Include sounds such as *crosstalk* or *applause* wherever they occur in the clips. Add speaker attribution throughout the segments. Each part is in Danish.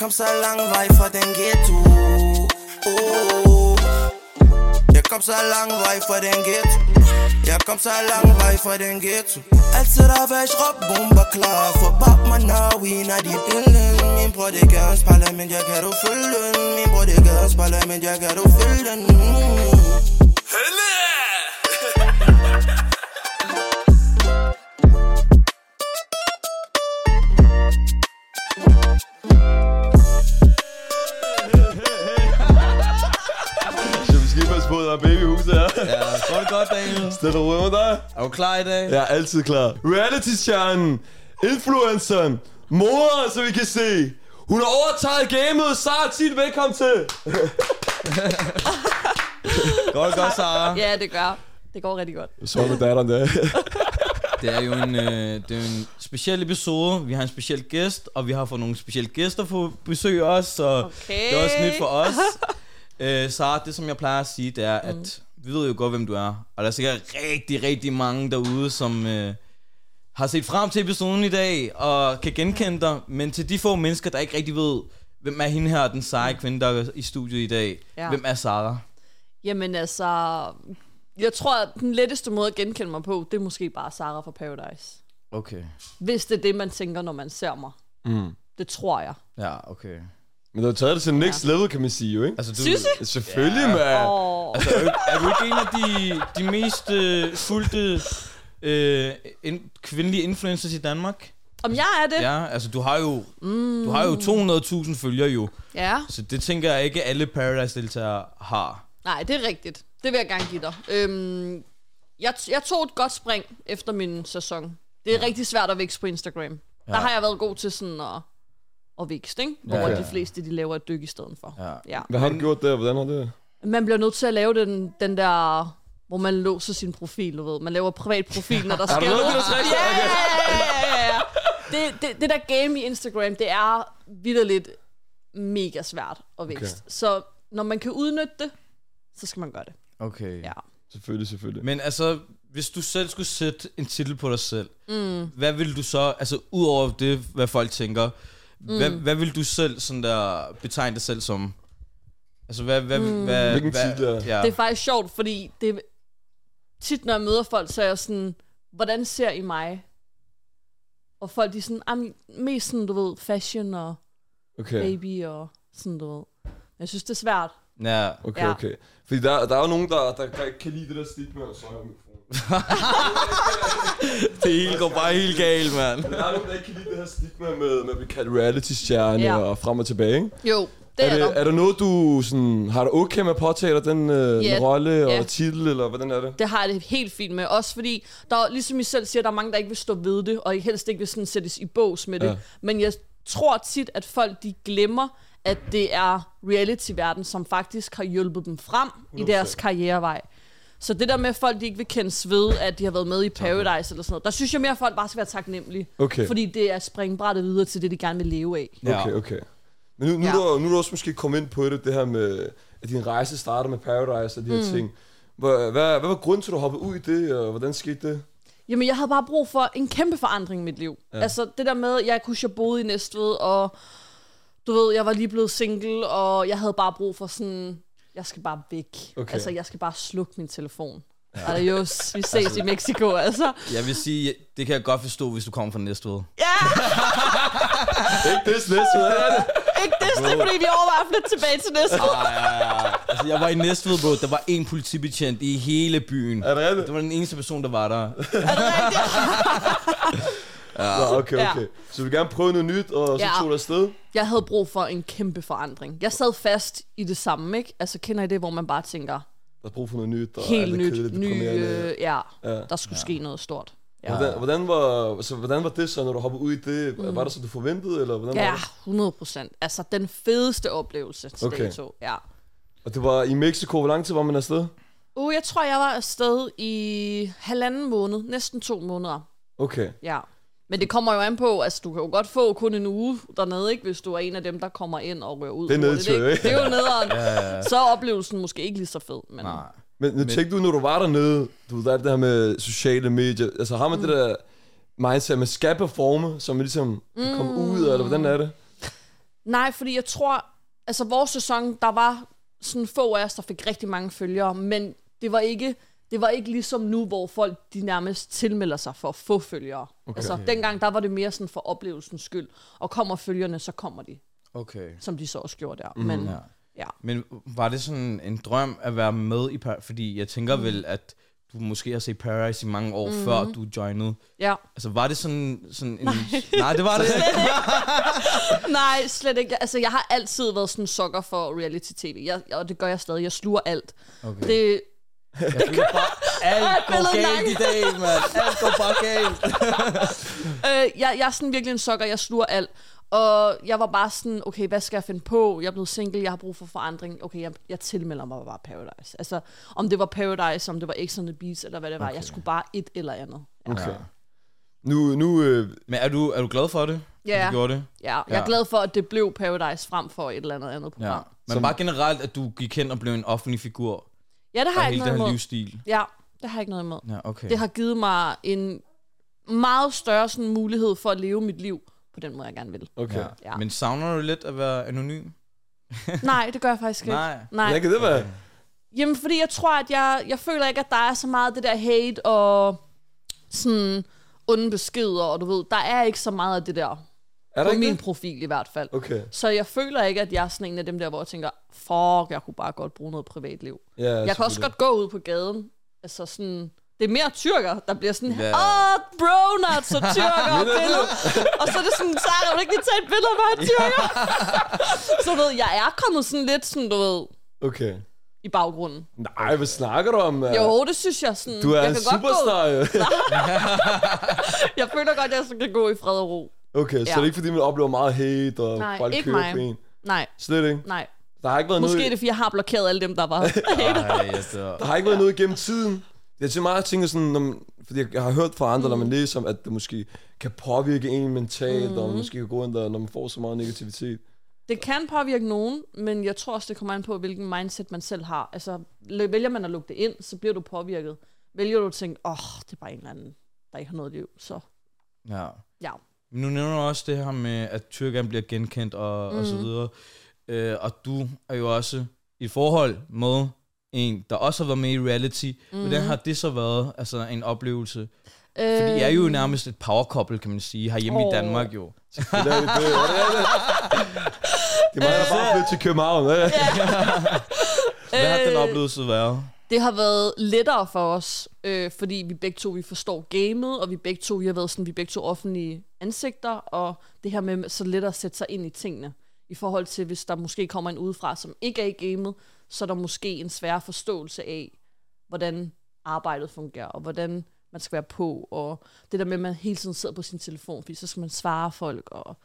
Speaker 1: kom så lang vej fra den ghetto oh. Jeg kom så lang vej fra den ghetto Jeg kom så lang vej fra den ghetto Altså der var jeg råb bomber klar For bag mig når vi når de billen Min bror det gør en spejler, men jeg kan du følge den Min bror det gør en spejler, men jeg kan du følge den mm.
Speaker 2: Skal vi skifte os på, der er babyhuset her?
Speaker 3: Ja, går det godt, Daniel?
Speaker 2: Stille og roligt med dig?
Speaker 3: Er du klar i dag?
Speaker 2: Jeg er altid klar. Reality-stjernen, influenceren, moderen, som vi kan se. Hun har overtaget gamet. Sara, sig velkommen til.
Speaker 3: Går det godt, Sara?
Speaker 4: Ja, det gør. Det går rigtig godt.
Speaker 2: Så med datteren der.
Speaker 3: Det er jo en, øh, det er jo en speciel episode. Vi har en speciel gæst, og vi har fået nogle specielle gæster på besøg også, så
Speaker 4: Okay.
Speaker 3: det er også nyt for os.
Speaker 4: *laughs*
Speaker 3: øh, Sara, det som jeg plejer at sige, det er, at
Speaker 4: Mm.
Speaker 3: vi ved jo godt, hvem du er. Og der er sikkert rigtig, rigtig mange derude, som øh, har set frem til episoden i dag, og kan genkende dig. Men til de få mennesker, der ikke rigtig ved, hvem er hende her, den seje kvinde, der er i studiet i dag.
Speaker 4: Ja.
Speaker 3: Hvem er Sara?
Speaker 4: Jamen altså, jeg tror, at den letteste måde at genkende mig på, det er måske bare Sarah fra Paradise.
Speaker 3: Okay.
Speaker 4: Hvis det er det, man tænker, når man ser mig.
Speaker 2: Mm.
Speaker 4: Det tror jeg.
Speaker 3: Ja, okay.
Speaker 2: Men du har taget det til next level, kan man sige jo, ikke?
Speaker 3: Altså, du,
Speaker 4: Synes I?
Speaker 2: Selvfølgelig, mand.
Speaker 4: Åh,
Speaker 3: Altså, er, du ikke- er du ikke en af de, de mest øh, fulgte øh, in, kvindelige influencers i Danmark?
Speaker 4: om jeg er det? Ja.
Speaker 3: Ja, altså du har jo, mm. du har jo 200.000 følgere jo,
Speaker 4: ja.
Speaker 3: så det tænker jeg ikke alle Paradise-deltagere har.
Speaker 4: Nej, det er rigtigt. Det vil jeg gerne give dig. Øhm, jeg, t- jeg tog et godt spring efter min sæson. Det er ja. rigtig svært at vækse på Instagram. Ja. Der har jeg været god til sådan at, at vækste, ikke? Hvor
Speaker 3: Ja.
Speaker 4: ja. de fleste de laver et dyk i stedet for.
Speaker 3: Ja.
Speaker 4: ja.
Speaker 2: Hvad har du gjort der? Hvordan har du det?
Speaker 4: Man bliver nødt til at lave den, den der, hvor man låser sin profil, du ved. Man laver privat profil, når der sker
Speaker 2: lavet det, der
Speaker 4: Ja,
Speaker 2: trick?
Speaker 4: ja, ja, ja. Det, det, det der game i Instagram, det er vidderligt mega svært at vækste. Okay. Så når man kan udnytte det, så skal man gøre det.
Speaker 3: Okay.
Speaker 4: Ja.
Speaker 2: Selvfølgelig, selvfølgelig.
Speaker 3: Men altså, hvis du selv skulle sætte en titel på dig selv, mm. hvad vil du så, altså udover det, hvad folk tænker, mm. hvad, hvad vil du selv sådan der betegne dig selv som? Altså, hvad, hvad, mm. hvad,
Speaker 2: Hvilken
Speaker 3: hvad,
Speaker 2: titel er det?
Speaker 3: ja.
Speaker 4: Det er faktisk sjovt, fordi det, tit når jeg møder folk, så er jeg sådan, hvordan ser I mig? Og folk de er sådan, "Jamen, mest sådan, du ved, fashion og
Speaker 2: Okay,
Speaker 4: baby og sådan, du ved. Men Jeg synes, det er svært.
Speaker 3: ja.
Speaker 2: okay,
Speaker 4: Ja.
Speaker 2: okay. Fordi der, der er jo nogen, der, der, der ikke kan lide det der stigma. Og så er jeg mikrofonen.
Speaker 3: Det hele går bare helt galt, mand.
Speaker 2: Men der er nogen, der ikke kan lide det her stigma med, med at blive kaldt reality-stjerne
Speaker 4: Ja.
Speaker 2: ja. og frem og tilbage, ikke?
Speaker 4: Jo, det er,
Speaker 2: er,
Speaker 4: er
Speaker 2: det, er der noget, du sådan, har det okay med at påtage dig den, øh,
Speaker 4: Ja.
Speaker 2: den rolle og
Speaker 4: Ja.
Speaker 2: titel, eller hvordan er det?
Speaker 4: Det har jeg det helt fint med. Også fordi, der, er- ligesom I selv siger, der er mange, der ikke vil stå ved det, og helst ikke vil sådan sættes i bås med det.
Speaker 2: Ja.
Speaker 4: Ja. Men jeg tror tit, at folk de glemmer, at det er reality-verden, som faktisk har hjulpet dem frem 100%. i deres karrierevej. Så det der med, at folk de ikke vil kendes ved, at de har været med i Paradise eller sådan noget, der synes jeg mere, at folk bare skal være taknemmelige.
Speaker 2: Okay.
Speaker 4: Fordi det er springbrættet videre til det, de gerne vil leve af.
Speaker 3: Ja.
Speaker 2: Okay, okay. Men nu, nu,
Speaker 4: Ja.
Speaker 2: ja. du, nu er du også måske kommet ind på det, det her med, at din rejse starter med Paradise og de her mm. ting. Hvad, hvad, hvad var grunden til, at du hoppede ud i det, og hvordan skete det?
Speaker 4: Jamen, jeg havde bare brug for en kæmpe forandring i mit liv. Ja. Altså, det der med, jeg kunne jeg boede i Næstved, og du ved, jeg var lige blevet single, og jeg havde bare brug for sådan, jeg skal bare væk.
Speaker 2: Okay.
Speaker 4: Altså, jeg skal bare slukke min telefon. Ja. Adios, vi ses i Mexico, altså.
Speaker 3: Jeg vil sige, det kan jeg godt forstå, hvis du kommer fra Næstved.
Speaker 4: Ja,
Speaker 2: Ikke *laughs* det, slet, så er det.
Speaker 4: ikke det, det er, fordi vi overvejer at flytte tilbage til Næstved.
Speaker 2: Ah,
Speaker 3: Altså, jeg var i Næstved, bro. Der var én politibetjent i hele byen.
Speaker 2: Er det rigtigt?
Speaker 3: Det var den eneste person, der var der.
Speaker 2: Ja, Ah, okay,
Speaker 4: Ja.
Speaker 2: okay. Så du vil gerne prøve noget nyt, og så
Speaker 4: Ja.
Speaker 2: tog du afsted?
Speaker 4: Jeg havde brug for en kæmpe forandring. Jeg sad fast i det samme, ikke? Altså, kender I det, hvor man bare tænker,
Speaker 2: Der er brug for noget nyt, og alt
Speaker 4: helt
Speaker 2: er
Speaker 4: nyt,
Speaker 2: kedeligt,
Speaker 4: ny,
Speaker 2: deprimerende.
Speaker 4: øh, ja,
Speaker 2: Ja.
Speaker 4: der skulle ja. ske noget stort. Ja.
Speaker 2: Hvordan, hvordan, var, så hvordan var det så, når du hoppede ud i det? Mm. Var det, som du forventede, eller hvordan
Speaker 4: Ja,
Speaker 2: var det?
Speaker 4: 100 procent. Altså, den fedeste oplevelse til
Speaker 2: Okay.
Speaker 4: okay. dato. Ja.
Speaker 2: Og det var i Mexico. Hvor lang tid var man afsted?
Speaker 4: Uh, jeg tror, jeg var afsted i halvanden måned. Næsten to måneder.
Speaker 2: Okay.
Speaker 4: Ja. Men det kommer jo an på, altså du kan jo godt få kun en uge dernede, ikke, hvis du er en af dem, der kommer ind og rører ud.
Speaker 2: Det er
Speaker 4: hurtigt,
Speaker 2: nedtur, ikke?
Speaker 4: Det er jo
Speaker 2: *laughs*
Speaker 4: nederen. ja. Så er oplevelsen måske ikke lige så fed. Men...
Speaker 3: Nej.
Speaker 2: Men nu tænkte du, når du var dernede, du ved, der er det der med sociale medier. Altså har man mm. det
Speaker 4: Mm.
Speaker 2: der mindset, at man skal performe, så man ligesom kan komme ud, eller hvordan er det?
Speaker 4: Nej, fordi jeg tror, altså vores sæson, der var sådan få af os, der fik rigtig mange følgere, men det var ikke, det var ikke ligesom nu, hvor folk de nærmest tilmelder sig for at få følgere. Okay. Altså dengang, der var det mere sådan for oplevelsens skyld, og kommer følgerne, så kommer de,
Speaker 3: Okay.
Speaker 4: som de så også gjorde der. Men
Speaker 3: Ja.
Speaker 4: Mhm. ja.
Speaker 3: Men var det sådan en drøm at være med i Paradise? Fordi jeg tænker mm. vel, at du måske har set Paradise i mange år, mm. før du joinede.
Speaker 4: ja.
Speaker 3: Altså, var det sådan, sådan en... Nej. Nej, det
Speaker 4: *laughs*
Speaker 3: var det ikke.
Speaker 4: Nej, slet ikke. Jeg- Altså, jeg har altid været sådan en sukker for reality-tv, jeg, jeg- og det gør jeg stadig. Jeg sluger alt. Okay. Det,
Speaker 3: Jeg føler bare, alt
Speaker 4: Ej, billedet
Speaker 3: går galt
Speaker 4: langt.
Speaker 3: i dag, mand. Alt går bare galt.
Speaker 4: øh, jeg, jeg er sådan virkelig en sukker, jeg sluger alt. Og jeg var bare sådan, okay, hvad skal jeg finde på? Jeg er blevet single, jeg har brug for forandring. Okay, jeg, jeg tilmelder mig bare Paradise. Altså, om det var Paradise, om det var X on the Beach, eller hvad det var. Okay. Jeg skulle bare et eller andet. Ja,
Speaker 2: Okay. Nu, nu, øh,
Speaker 3: Men er du, er du glad for det? at
Speaker 4: Ja.
Speaker 3: Du gjorde det?
Speaker 4: ja. jeg er glad for, at det blev Paradise frem for et eller andet andet
Speaker 3: Ja.
Speaker 4: program.
Speaker 3: Men bare generelt, at du gik hen og blev en offentlig figur.
Speaker 4: Ja, ja det har
Speaker 3: Og
Speaker 4: jeg ikke
Speaker 3: hele
Speaker 4: noget
Speaker 3: den her
Speaker 4: imod.
Speaker 3: livsstil.
Speaker 4: Ja, det har jeg ikke noget imod.
Speaker 3: Ja, okay.
Speaker 4: Det har givet mig en meget større sådan, mulighed for at leve mit liv på den måde, jeg gerne
Speaker 3: *laughs*
Speaker 4: vil.
Speaker 2: okay. Ja.
Speaker 4: Ja.
Speaker 3: Men savner du lidt at være anonym?
Speaker 4: Nej, det gør jeg faktisk ikke.
Speaker 3: Nej.
Speaker 4: Nej.
Speaker 2: Hvordan kan det være?
Speaker 4: Jamen, fordi jeg tror, at jeg, jeg føler ikke, at der er så meget det der hate og sådan onde beskeder, og du ved, der er ikke så meget af det der.
Speaker 2: Er der
Speaker 4: på
Speaker 2: ikke
Speaker 4: min
Speaker 2: det?
Speaker 4: profil i hvert fald.
Speaker 2: Okay.
Speaker 4: Så jeg føler ikke, at jeg er sådan en af dem der, hvor jeg tænker, fuck, jeg kunne bare godt bruge noget privatliv.
Speaker 2: Ja,
Speaker 4: Jeg kan også godt gå ud på gaden. Altså sådan... Det er mere tyrker, der bliver sådan, åh,
Speaker 3: Ja.
Speaker 4: yeah. oh, bro, not
Speaker 2: *laughs*
Speaker 4: så tyrker og billede. og så er det sådan, Sarah, vil du ikke lige tage et billede af mig, tyrker? *laughs* så du ved, jeg er kommet sådan lidt sådan, du ved,
Speaker 2: Okay.
Speaker 4: i baggrunden.
Speaker 2: Nej, hvad snakker du om? mand?
Speaker 4: Jo, det synes jeg sådan.
Speaker 2: Altså, Du er
Speaker 4: jeg
Speaker 2: en
Speaker 4: kan
Speaker 2: superstar,
Speaker 4: *laughs*
Speaker 2: jo.
Speaker 4: Godt gå, jeg føler godt, at jeg sådan kan gå i fred og ro.
Speaker 2: Okay, så
Speaker 4: Ja.
Speaker 2: det er ikke fordi, man oplever meget hate, og
Speaker 4: Nej,
Speaker 2: folk
Speaker 4: ikke
Speaker 2: kører
Speaker 4: mig.
Speaker 2: på en.
Speaker 4: Nej,
Speaker 2: Slet ikke.
Speaker 4: nej.
Speaker 2: Der har ikke været
Speaker 4: Måske
Speaker 2: noget...
Speaker 4: er det, fordi jeg har blokeret alle dem, der
Speaker 2: *laughs*
Speaker 4: var
Speaker 3: Ej, jeg dør.
Speaker 2: Der har ikke været noget gennem tiden. Jeg til meget tænker sådan, når man, fordi jeg har hørt fra andre, mm. når man læser om, at det måske kan påvirke en mentalt, mm. og måske kan gå ind der, når man får så meget negativitet.
Speaker 4: Det kan påvirke nogen, men jeg tror også, det kommer an på, hvilken mindset man selv har. Altså, l- vælger man at lukke det ind, så bliver du påvirket. Vælger du at tænke, åh, oh, det er bare en eller anden, der ikke har noget liv, så
Speaker 3: Ja.
Speaker 4: ja.
Speaker 3: Nu nævner du også det her med, at Tyrkland bliver genkendt og, mm. og så videre. Øh, og du er jo også i et forhold med en, der også har været med i reality. Mm. Hvordan har det så været altså, en oplevelse? Fordi I er jo nærmest et powerkoppel, kan man sige, herhjemme oh. i
Speaker 4: Øh. Åh.
Speaker 3: Danmark jo.
Speaker 2: Det er det, det, er det, det, er det. det er mig,
Speaker 4: *laughs*
Speaker 2: der bare flyttet til København. Ja.
Speaker 3: Hvad har
Speaker 4: Øh.
Speaker 3: den oplevelse været?
Speaker 4: Det har været lettere for os, øh, fordi vi begge to vi forstår gamet, og vi begge to vi har været sådan, vi er begge to offentlige ansigter, og det her med så let at sætte sig ind i tingene, i forhold til, hvis der måske kommer en udefra, som ikke er i gamet, så er der måske en svær forståelse af, hvordan arbejdet fungerer, og hvordan man skal være på, og det der med, at man hele tiden sidder på sin telefon, fordi så skal man svare folk. Og...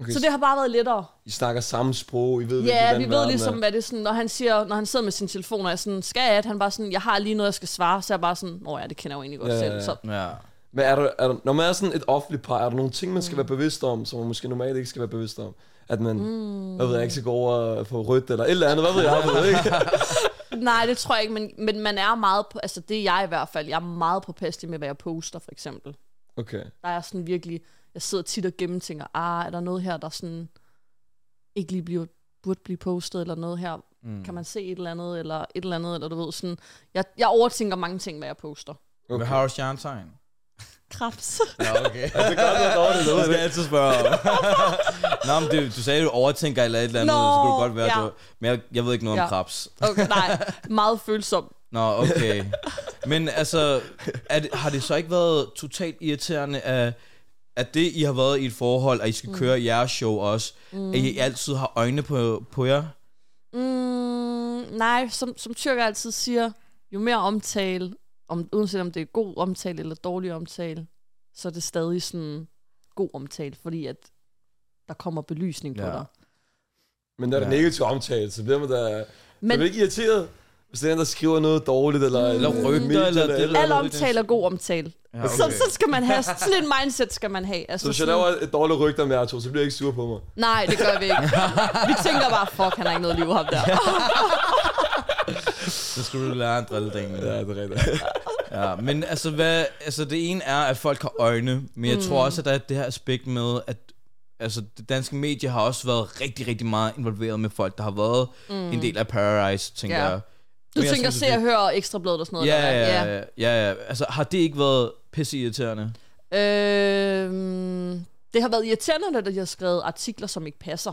Speaker 2: Okay,
Speaker 4: Så det har bare været lettere.
Speaker 2: I snakker samme sprog, I ved,
Speaker 4: Ja,
Speaker 2: hvordan
Speaker 4: vi ved
Speaker 2: verden
Speaker 4: ligesom,
Speaker 2: er.
Speaker 4: hvad det er sådan, når han, siger, når han sidder med sin telefon, og er sådan, skal jeg, at han bare sådan, jeg har lige noget, jeg skal svare, så er jeg bare sådan, nå ja, det kender jeg jo egentlig godt
Speaker 2: Ja,
Speaker 4: ja,
Speaker 2: ja.
Speaker 4: selv. Så,
Speaker 3: Ja.
Speaker 2: Men er der, er der, når man er sådan et offentligt par, er der nogle ting, man skal være bevidst om, som man måske normalt ikke skal være bevidst om? At man, mm. hvad ved jeg, ikke skal gå over på rødt, eller et eller andet, hvad ved jeg, ved
Speaker 4: *laughs*
Speaker 2: ikke?
Speaker 4: nej, det tror jeg ikke, men, men man er meget, på, altså det er jeg i hvert fald, jeg er meget påpasselig med, hvad jeg poster, for eksempel.
Speaker 2: Okay.
Speaker 4: Der er sådan virkelig, jeg sidder tit og gennemtænker, ah, er der noget her, der sådan ikke lige bliver, burde blive postet, eller noget her, mm. kan man se et eller andet, eller et eller andet, eller du ved, sådan, jeg, jeg overtænker mange ting, hvad jeg poster.
Speaker 3: Okay. Med Harald Stjerntegn.
Speaker 4: Krebs.
Speaker 3: *laughs* Ja, okay. Altså,
Speaker 2: Det er godt, at der er det,
Speaker 3: Det
Speaker 2: noget,
Speaker 3: skal jeg
Speaker 2: ikke?
Speaker 3: altid spørge om. *laughs* Nå, men det, du sagde, du overtænker eller et eller andet,
Speaker 4: Nå,
Speaker 3: så kunne det godt være,
Speaker 4: ja.
Speaker 3: du... Men jeg, jeg ved ikke noget ja. om
Speaker 4: Ja.
Speaker 3: krebs.
Speaker 4: Okay, nej, meget følsom.
Speaker 3: Nå, okay. Men altså, er det, har det så ikke været totalt irriterende, at, at det, I har været i et forhold, og I skal mm. køre jeres show også, mm. at I altid har øjne på, på jer?
Speaker 4: Mm, nej, som, som tyrker altid siger, jo mere omtale, om, uanset om det er god omtale eller dårlig omtale, så er det stadig sådan god omtale, fordi at der kommer belysning på
Speaker 3: Ja.
Speaker 4: dig.
Speaker 2: Men når der er
Speaker 3: Ja.
Speaker 2: negativ omtale, så bliver man da... Men...
Speaker 4: Men- Mm.
Speaker 2: Det ikke irriteret, hvis det er en, der skriver noget dårligt, eller...
Speaker 3: Eller rygter,
Speaker 2: medie,
Speaker 3: eller det-
Speaker 2: eller-
Speaker 4: Al omtale er god omtale. Ja, okay. så, så skal man have, sådan et mindset skal man have.
Speaker 2: Så
Speaker 4: Altså,
Speaker 2: hvis jeg
Speaker 4: sådan-
Speaker 2: laver et dårligt rygte om jer to, så bliver jeg ikke sur på mig.
Speaker 4: Nej, det gør vi ikke. Vi tænker bare, fuck, han har ikke noget liv ham
Speaker 3: *laughs*
Speaker 4: der.
Speaker 3: Så skulle du lære en drilledame.
Speaker 2: Ja, det er rigtigt.
Speaker 3: Ja, men
Speaker 4: Mm.
Speaker 3: altså, hvad, altså det ene er, at folk har øjne, men jeg tror også, at der er det her aspekt med, at altså det danske medie har også været rigtig, rigtig meget involveret med folk, der har været mm. en del af Paradise, tænker
Speaker 4: Ja.
Speaker 3: ja. jeg.
Speaker 4: Du
Speaker 3: Men jeg
Speaker 4: tænker,
Speaker 3: synes,
Speaker 4: se
Speaker 3: det-
Speaker 4: og høre ekstra blad og sådan noget.
Speaker 3: Ja,
Speaker 4: der,
Speaker 3: ja, ja, ja, ja. Altså, har det ikke været pisse irriterende?
Speaker 4: Øhm, det har været irriterende, når de har skrevet artikler, som ikke passer.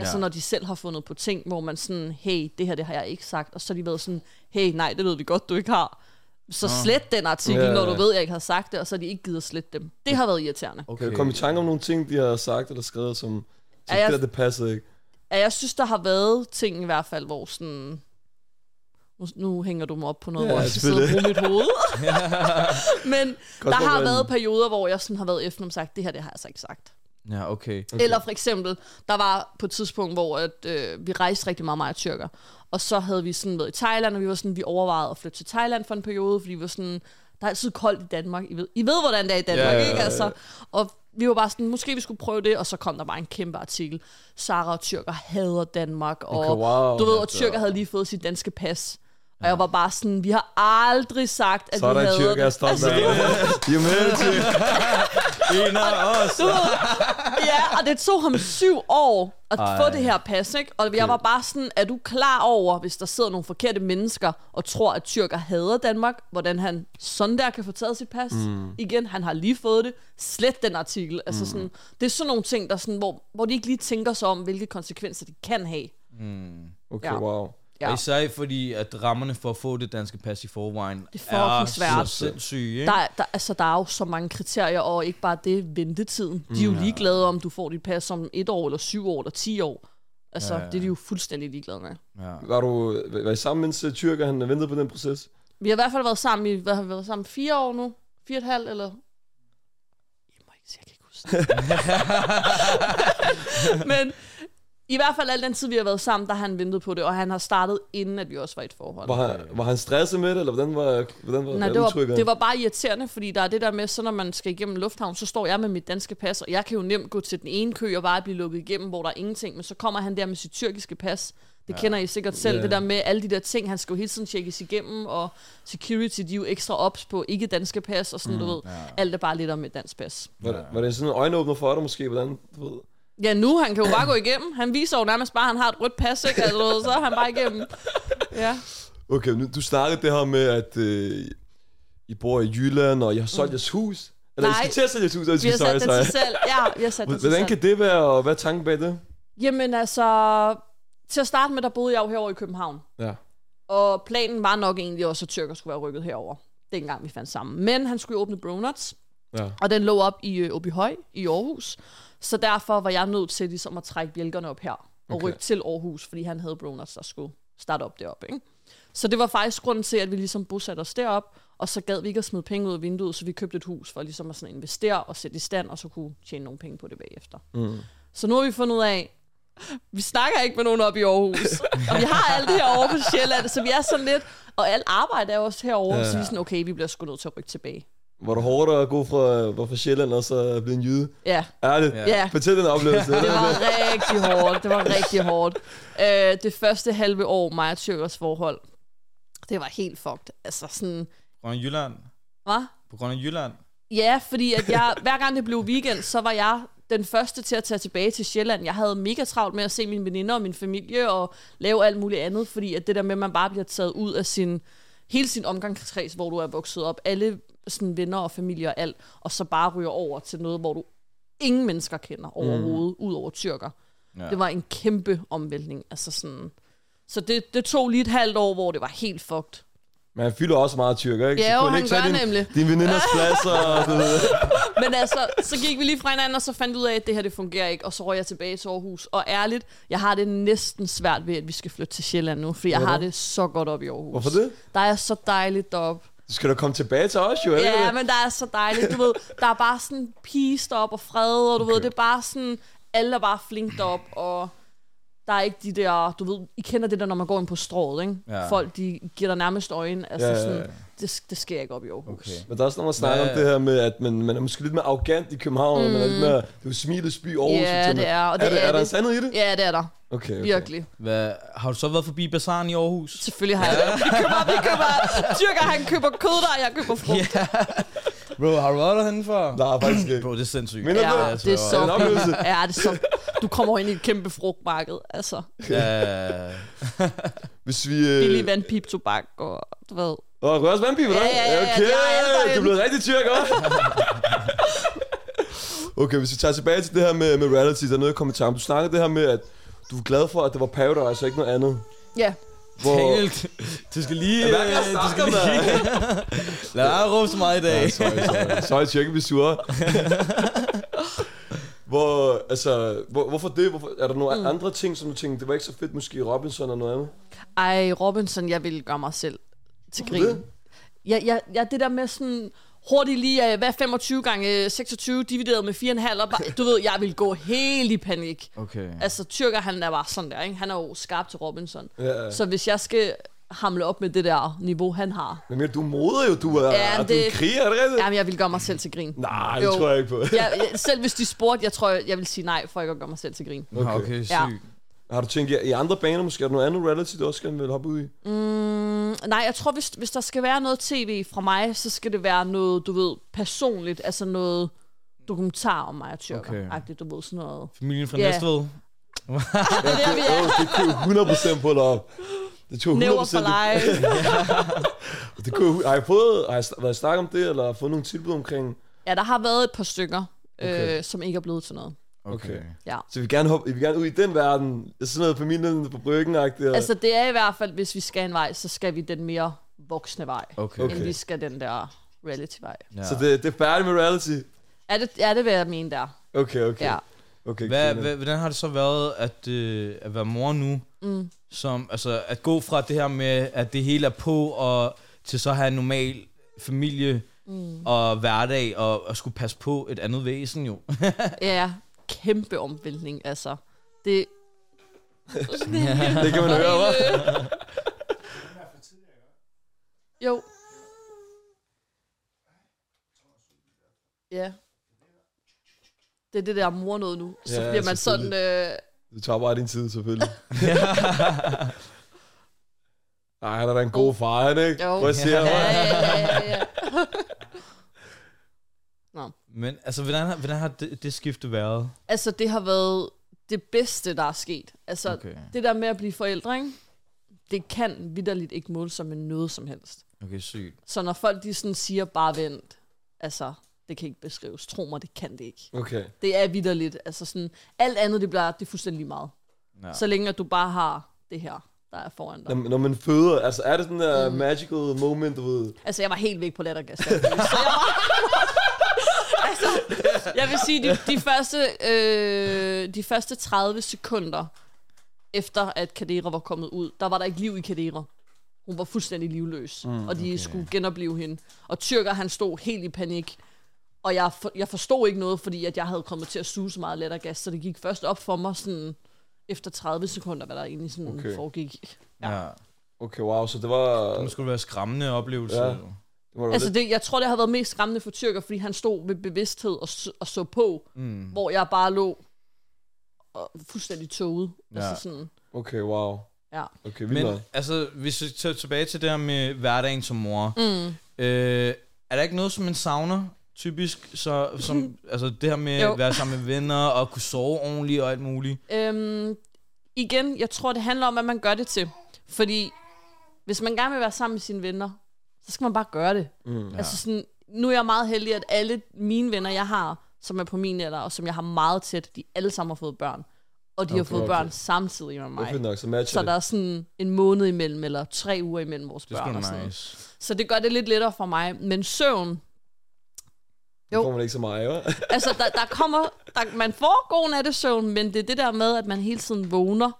Speaker 4: Altså
Speaker 3: Ja.
Speaker 4: når de selv har fundet på ting, hvor man sådan, hey, det her det har jeg ikke sagt. Og så har de været sådan, hey, nej, det ved vi godt, du ikke har. Så slet den artikel,
Speaker 2: Ja,
Speaker 4: når
Speaker 2: ja.
Speaker 4: du ved, jeg ikke har sagt det, og så har de ikke givet at slette dem. Det har været irriterende.
Speaker 2: Kan du komme i tanke om nogle ting, de har sagt eller skrevet, som, som
Speaker 4: Ja, jeg-
Speaker 2: det der, det passede ikke?
Speaker 4: Ja, jeg synes, der har været ting i hvert fald, hvor sådan... Nu, nu hænger du mig op på noget,
Speaker 2: Ja,
Speaker 4: hvor jeg skal sidde og bruge
Speaker 2: selvfølgelig. *laughs*
Speaker 4: mit hoved. Men
Speaker 2: Godt
Speaker 4: der har
Speaker 2: forberedt.
Speaker 4: været perioder, hvor jeg sådan har været efter dem sagt, det her det har jeg altså ikke sagt.
Speaker 3: *laughs* Ja, okay.
Speaker 4: Okay. Eller for eksempel, der var på et tidspunkt, hvor at, øh, vi rejste rigtig meget, mig og tyrker. Og så havde vi sådan været i Thailand, og vi var sådan, vi overvejede at flytte til Thailand for en periode, fordi vi var sådan, der er altid koldt i Danmark. I ved, I ved hvordan det er i Danmark,
Speaker 2: Ja, ja,
Speaker 4: ikke?
Speaker 2: ja.
Speaker 4: Altså, og vi var bare sådan, måske vi skulle prøve det, og så kom der bare en kæmpe artikel. Sara og tyrker hader Danmark, og
Speaker 2: Okay, wow.
Speaker 4: du ved, og tyrker havde lige fået sit danske pas. Og jeg var bare sådan, vi har aldrig sagt, at
Speaker 2: Så er der
Speaker 4: vi
Speaker 2: en
Speaker 4: hader Altså,
Speaker 2: tyrk, jeg er stolt af. *laughs* You made it, tyrk.
Speaker 3: *laughs* En af os!
Speaker 4: Du ved, ja, og det tog ham syv år at Ej.
Speaker 3: Ej.
Speaker 4: få det her pas, ikke? Og jeg var bare sådan, er du klar over, hvis der sidder nogle forkerte mennesker og tror, at tyrker hader Danmark, hvordan han sådan der kan få taget sit pas? Mm. Igen, han har lige fået det. Slet den artikel. Altså sådan, det er sådan nogle ting, der sådan, hvor, hvor de ikke lige tænker sig om, hvilke konsekvenser det kan have.
Speaker 2: Okay,
Speaker 4: Ja.
Speaker 2: wow.
Speaker 4: Ja.
Speaker 3: Ja. Især fordi, at rammerne for at få det danske pas i forvejen
Speaker 4: Det er
Speaker 3: er
Speaker 4: fucking svært.
Speaker 3: så sindssyge, ikke?
Speaker 4: Der, er- der, altså, der er jo så mange kriterier, og ikke bare det, ventetiden. De er jo ligeglade om, du får dit pas om et år, eller syv år, eller ti år. Altså, ja,
Speaker 3: Ja,
Speaker 4: ja.
Speaker 3: ja.
Speaker 4: det er de jo fuldstændig ligeglade med.
Speaker 3: Ja. *laughs*
Speaker 2: Var du var I sammen, mens øh, tyrker han ventede på den proces?
Speaker 4: Vi har i hvert fald været sammen i, hvad har vi været sammen, fire år nu? Fire og et halvt, eller? Jeg må ikke sige, jeg kan ikke huske det. Men i hvert fald al den tid, vi har været sammen, der har han ventet på det, og han har startet, inden at vi også var i et forhold.
Speaker 2: Var han, var han stresset med det, eller hvordan var, hvordan var
Speaker 4: Nej,
Speaker 2: hvad
Speaker 4: det var,
Speaker 2: udtrykket?
Speaker 4: det var bare irriterende, fordi der er det der med, så når man skal igennem lufthavn, så står jeg med mit danske pas, og jeg kan jo nemt gå til den ene kø og bare blive lukket igennem, hvor der er ingenting, men så kommer han der med sit tyrkiske pas. Det ja. kender I sikkert selv,
Speaker 2: Ja.
Speaker 4: det der med alle de der ting, han skal jo hele tiden tjekkes igennem, og security, de er jo ekstra ops på ikke danske pas, og sådan, mm, du ved, alt er bare lidt om et dansk pas.
Speaker 2: var, var det sådan en øjenåbner for dig måske? Hvordan, du ved?
Speaker 4: Ja, nu, han kan jo bare gå igennem. Han viser jo nærmest bare, at han har et rødt pas, ikke? Altså, du ved, så er han bare igennem.
Speaker 2: *laughs*
Speaker 4: Ja.
Speaker 2: Okay, nu, du snakkede det her med, at øh, I bor i Jylland, og jeg har solgt jeres hus. Eller
Speaker 4: Mm. Nej.
Speaker 2: I skal til at sælge jeres hus,
Speaker 4: Vi
Speaker 2: undskyld,
Speaker 4: har
Speaker 2: sorry,
Speaker 4: sat det til
Speaker 2: sorry.
Speaker 4: salg. Ja, vi har sat det til
Speaker 2: Hvordan
Speaker 4: salg.
Speaker 2: kan det være, og hvad er tanken bag det?
Speaker 4: Jamen altså, til at starte med, der boede jeg jo herovre i København.
Speaker 2: Ja.
Speaker 4: Og planen var nok egentlig også, at Tyrker skulle være rykket herover, dengang vi fandt sammen. Men han skulle jo åbne Bronuts,
Speaker 2: Ja.
Speaker 4: og den lå op i Obihøj i Aarhus. Så derfor var jeg nødt til ligesom at trække bjælkerne op her og okay.
Speaker 2: Okay.
Speaker 4: rykke til Aarhus, fordi han havde Bronuts, der skulle starte op deroppe. Ikke? Så det var faktisk grunden til, at vi ligesom bosatte os derop, og så gad vi ikke at smide penge ud af vinduet, så vi købte et hus for ligesom at sådan investere og sætte i stand, og så kunne tjene nogle penge på det bagefter. Mm. Så nu har vi fundet ud af, vi snakker ikke med nogen op i *laughs* Aarhus. og vi har alt det her over på Sjælland, så vi er sådan lidt, og alt arbejde er jo også herovre, ja. så vi er sådan, okay, vi bliver sgu nødt til at rykke tilbage.
Speaker 2: Var det hårdt at gå fra, var fra Sjælland og så blive en jyde?
Speaker 4: Ja,
Speaker 2: Ærligt,
Speaker 4: Ja.
Speaker 2: fortæl den
Speaker 4: *laughs*
Speaker 2: oplevelse.
Speaker 4: det var rigtig hårdt, det var rigtig hårdt. Øh, det første halve år, mig og Tyrkers forhold, det var helt fucked. Altså sådan,
Speaker 3: På grund af Jylland.
Speaker 4: hvad?
Speaker 3: På grund af Jylland.
Speaker 4: Ja, fordi at jeg, hver gang det blev weekend, så var jeg den første til at tage tilbage til Sjælland. Jeg havde mega travlt med at se mine veninder og min familie og lave alt muligt andet, fordi at det der med, at man bare bliver taget ud af sin, hele sin omgangskreds, hvor du er vokset op, alle sådan venner og familie og alt, og så bare ryger over til noget, hvor du ingen mennesker kender overhovedet, mm. ud over tyrker. Ja.
Speaker 3: Ja.
Speaker 4: Det var en kæmpe omvæltning. Altså sådan. Så det, det tog lige et halvt år, hvor det var helt fucked.
Speaker 2: Men han fylder også meget tyrker, ikke?
Speaker 4: Ja, jo,
Speaker 2: kunne
Speaker 4: han
Speaker 2: ikke tage
Speaker 4: gør
Speaker 2: din,
Speaker 4: nemlig.
Speaker 2: Din
Speaker 4: *laughs*
Speaker 2: veninders plads og du ved.
Speaker 4: Men altså, så gik vi lige fra hinanden, og så fandt vi ud af, at det her det fungerer ikke, og så røg jeg tilbage til Aarhus. Og ærligt, jeg har det næsten svært ved, at vi skal flytte til Sjælland nu, fordi jeg har det så godt op i Aarhus.
Speaker 2: Hvorfor det?
Speaker 4: Der er så dejligt deroppe.
Speaker 2: Du skal da komme tilbage til os, jo. ikke?
Speaker 4: Ja, men der er så dejligt, du ved. Der er bare sådan peace deroppe og fred, og du okay. ved, det er bare sådan, alle er bare flink deroppe, og der er ikke de der, du ved, I kender det der, når man går ind på strået, ikke?
Speaker 3: Ja.
Speaker 4: Folk, de giver dig nærmest øjne, altså
Speaker 2: Ja, ja, ja.
Speaker 4: sådan, det, det sker ikke op i Aarhus.
Speaker 3: Okay.
Speaker 2: Men der er også noget, man snakker
Speaker 3: Hvad-
Speaker 2: om det her med, at man, man er måske lidt mere arrogant i København, mm. man er lidt mere, det er jo smilets by Aarhus.
Speaker 4: Ja,
Speaker 2: for eksempel.
Speaker 4: det er, og det
Speaker 2: er, det,
Speaker 4: er
Speaker 2: er der en
Speaker 4: det.
Speaker 2: sandhed i det?
Speaker 4: Ja, det er der,
Speaker 2: Okay, okay.
Speaker 4: virkelig.
Speaker 3: Hvad, har du så været forbi Bazaren i Aarhus? *laughs*
Speaker 4: Selvfølgelig har jeg det. Vi køber, vi køber, tyrker han køber kød, og jeg køber frugt.
Speaker 3: Ja. Bro, har du været derhenne før?
Speaker 2: Nej, faktisk ikke.
Speaker 3: Bro, det er sindssygt.
Speaker 2: Minder
Speaker 4: Ja,
Speaker 2: du
Speaker 4: det, det er
Speaker 2: er en
Speaker 4: så
Speaker 2: oplevelse.
Speaker 4: Ja, det er så Du kommer over ind i et kæmpe frugtmarked, altså.
Speaker 2: Øh.
Speaker 3: Ja,
Speaker 2: Hvis vi... Øh...
Speaker 4: Billig vandpip, tobak og du ved.
Speaker 2: Åh, rører også vandpibe,
Speaker 4: Ja,
Speaker 2: dig?
Speaker 4: ja, ja, ja,
Speaker 2: Okay,
Speaker 4: det er alle derinde.
Speaker 2: du er blevet rigtig
Speaker 4: *laughs*
Speaker 2: tyrk, også. okay, hvis vi tager tilbage til det her med, med reality, der er noget, jeg kom i tanke. om. Du snakkede det her med, at du er glad for, at det var Paradise og ikke noget andet.
Speaker 4: Ja,
Speaker 2: Hvor...
Speaker 3: helt. Du skal lige...
Speaker 2: Hvad er det, jeg
Speaker 3: øh,
Speaker 2: snakker med?
Speaker 3: Lad være råbe så meget i dag.
Speaker 2: Ja, *laughs* sorry, sorry. Sorry, tyrk, vi er sure. Hvor, altså, hvor, hvorfor det? Hvorfor, er der nogle mm. andre ting, som du tænkte, det var ikke så fedt, måske Robinson og noget andet?
Speaker 4: Ej, Robinson, jeg ville gøre mig selv til
Speaker 2: det?
Speaker 4: grin. Ja, ja, ja, det der med sådan hurtigt lige, øh, hvad er 25 gange øh, 26 divideret med 4,5, og bare, du ved, jeg vil gå helt i panik.
Speaker 3: Okay.
Speaker 4: Altså, Tyrker, han er bare sådan der, ikke? Han er jo skarp til Robinson.
Speaker 2: Ja.
Speaker 4: Så hvis jeg skal hamle op med det der niveau, han har,
Speaker 2: Men mere, du er moder jo, du er,
Speaker 4: Ja,
Speaker 2: ja, det... du er
Speaker 4: det-
Speaker 2: kriger, er det rigtigt? Ja.
Speaker 4: jamen, jeg vil gøre mig selv til grin.
Speaker 2: Nej, det
Speaker 4: Jo.
Speaker 2: tror jeg ikke på.
Speaker 4: Jeg, jeg, selv hvis de spurgte, jeg tror, jeg, jeg vil sige nej, for ikke at gøre mig selv til grin.
Speaker 3: Okay,
Speaker 2: Okay.
Speaker 3: okay
Speaker 4: Ja.
Speaker 3: sygt.
Speaker 2: Har du tænkt i andre baner måske? Er der noget andet reality, du også gerne vil hoppe ud i?
Speaker 4: Mm, Nej, jeg tror, hvis, hvis der skal være noget tv fra mig, så skal det være noget, du ved, personligt. Altså noget dokumentar om mig og tyrker. Okay. Du ved, sådan noget.
Speaker 3: Familien fra
Speaker 4: Ja.
Speaker 3: Næstved.
Speaker 4: Det er der, vi er.
Speaker 2: Åh, det kunne jeg 100% på dig op. Det tog 100%.
Speaker 4: Never for *laughs* life.
Speaker 2: Det kunne, jeg- har jeg fået, har jeg sn- været snakket om det, eller fået nogle tilbud omkring?
Speaker 4: Ja, der har været et par stykker,
Speaker 2: Okay.
Speaker 4: øh, som ikke er blevet til noget.
Speaker 2: Okay.
Speaker 4: Ja.
Speaker 2: Så vi vil gerne, hoppe, vi vil gerne ud i den verden. Sådan noget familien på bryggen -agtigt.
Speaker 4: Altså, det er i hvert fald, hvis vi skal en vej, så skal vi den mere voksne vej,
Speaker 3: Okay.
Speaker 4: okay. end vi skal den der reality-vej.
Speaker 3: Ja.
Speaker 2: Så det, det er færdigt med reality.
Speaker 4: Er det, er det, hvad jeg mener der?
Speaker 2: Okay, okay.
Speaker 4: Ja.
Speaker 2: okay
Speaker 3: Hvad,
Speaker 2: griner.
Speaker 3: hvad, hvordan har det så været at, øh, at være mor nu? Mm. Som, altså, at gå fra det her med, at det hele er på, og til så at have en normal familie mm. og hverdag, og, og skulle passe på et andet væsen jo.
Speaker 4: Ja, kæmpe omvæltning, altså.
Speaker 2: *laughs*
Speaker 4: Det,
Speaker 2: Det kan
Speaker 4: *laughs*
Speaker 2: man høre, hva'?
Speaker 4: Jo. Ja. Det er det der mor noget nu. Så
Speaker 2: Ja,
Speaker 4: ja, bliver man sådan...
Speaker 2: selvfølgelig.
Speaker 4: Øh,
Speaker 2: Du tager bare din tid, selvfølgelig. Nej, han er da en god far, han, ikke?
Speaker 4: Jo.
Speaker 2: Prøv at se ham.
Speaker 4: øh, ja, ja, ja, ja, *laughs* ja.
Speaker 3: *laughs* Men altså, hvordan, har- hvordan har det, det skifte været?
Speaker 4: Altså, det har været det bedste, der er sket. Altså,
Speaker 3: Okay.
Speaker 4: okay. det der med at blive forældre, ikke? det kan vidderligt ikke måle sig med noget som helst.
Speaker 3: Okay, sygt.
Speaker 4: Så når folk de sådan siger, bare vent, altså, det kan ikke beskrives. Tro mig, det kan det ikke.
Speaker 2: Okay.
Speaker 4: Det er vidderligt. Altså sådan, alt andet, det bliver det er fuldstændig lige meget.
Speaker 3: Ja.
Speaker 4: Ja. Så længe at du bare har det her, der er foran dig.
Speaker 2: Når, når man føder, altså er det sådan
Speaker 4: Mm.
Speaker 2: der magical moment, du ved?
Speaker 4: Altså, jeg var helt væk på lattergas. da jeg blev- Så jeg var... *laughs* altså, jeg vil sige, de, de, første, øh, de første 30 sekunder, efter at Kadera var kommet ud, der var der ikke liv i Kadera. Hun var fuldstændig livløs, mm, og de okay. skulle genopleve hende. Og Tyrker, han stod helt i panik. Og jeg, for, jeg forstod ikke noget, fordi at jeg havde kommet til at suge så meget lattergas, så det gik først op for mig sådan efter 30 sekunder, hvad der egentlig sådan
Speaker 2: Okay.
Speaker 4: okay. foregik.
Speaker 3: Ja. ja.
Speaker 2: Okay, wow, så det var...
Speaker 3: Det skulle være skræmmende oplevelse.
Speaker 2: Ja.
Speaker 3: Ja.
Speaker 2: Det var
Speaker 4: Altså,
Speaker 2: altså,
Speaker 4: det, jeg tror, det har været mest skræmmende for tyrker, fordi han stod ved bevidsthed og, s- og så på, mm. hvor jeg bare lå og fuldstændig toget. Ja.
Speaker 3: Ja.
Speaker 4: Altså sådan,
Speaker 2: Okay, wow.
Speaker 4: ja.
Speaker 2: Okay, vildt
Speaker 3: Men
Speaker 2: nok.
Speaker 3: altså, hvis vi tager tilbage til det her med hverdagen som mor. Mm. Øh, er der ikke noget, som man savner typisk? Så, som, altså det her med
Speaker 4: Jo.
Speaker 3: at være sammen med venner og kunne sove ordentligt og alt muligt.
Speaker 4: Øhm, igen, jeg tror, det handler om, hvad man gør det til. Fordi hvis man gerne vil være sammen med sine venner, så skal man bare gøre det. Mm, ja. Altså sådan, nu er jeg meget heldig, at alle mine venner, jeg har, som er på min alder, og som jeg har meget tæt, de alle sammen har fået børn. Og de okay, har fået
Speaker 2: okay.
Speaker 4: okay. børn samtidig
Speaker 2: Det
Speaker 4: med
Speaker 2: er
Speaker 4: mig.
Speaker 2: fedt nok, så matcher
Speaker 4: Så
Speaker 2: det.
Speaker 4: der er sådan en måned imellem, eller tre uger imellem vores
Speaker 3: Det er
Speaker 4: børn. og
Speaker 3: sgu
Speaker 4: sådan.
Speaker 3: da
Speaker 4: noget.
Speaker 3: nice.
Speaker 4: Så det gør det lidt lettere for mig. Men søvn,
Speaker 2: jo.
Speaker 4: jo.
Speaker 2: får man ikke så meget, hva'?
Speaker 4: altså der, der kommer, der, man får god nattesøvn, men det er det der med, at man hele tiden vågner.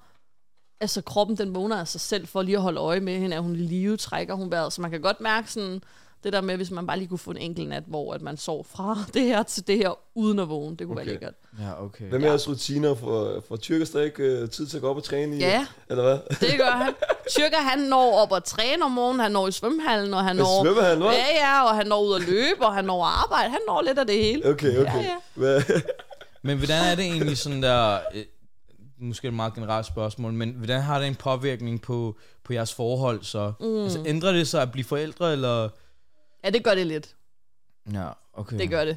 Speaker 4: Altså kroppen, den vågner af sig selv for lige at holde øje med hende. Er hun i live? Trækker hun vejret? Så man kan godt mærke sådan, det der med, hvis man bare lige kunne få en enkelt nat, hvor at man sov fra *laughs* det her til det her, uden at vågne. Det kunne okay.
Speaker 2: Okay.
Speaker 4: være lækkert.
Speaker 3: Ja, okay.
Speaker 2: Hvad med jeres rutiner for, for tyrkers, der ikke øh, tid til at gå op og træne i?
Speaker 4: Ja.
Speaker 2: Eller hvad?
Speaker 4: Det gør han. Tyrker, han når op og træner om morgenen, han når i svømmehallen, og han
Speaker 2: Hvad
Speaker 4: når...
Speaker 2: *laughs* svømmer han, hva'?
Speaker 4: Ja, ja, og han når ud at løbe, og han når at arbejde. Han når lidt af det hele.
Speaker 2: Okay, okay.
Speaker 4: Ja, ja.
Speaker 2: Hvad?
Speaker 3: Men hvordan er det egentlig sådan der... Øh, måske er det et meget generelt spørgsmål, men hvordan har det en påvirkning på, på jeres forhold så? Mm. Altså ændrer det sig at blive forældre, eller...
Speaker 4: Ja, det gør det lidt.
Speaker 3: Ja, okay.
Speaker 4: Det gør det.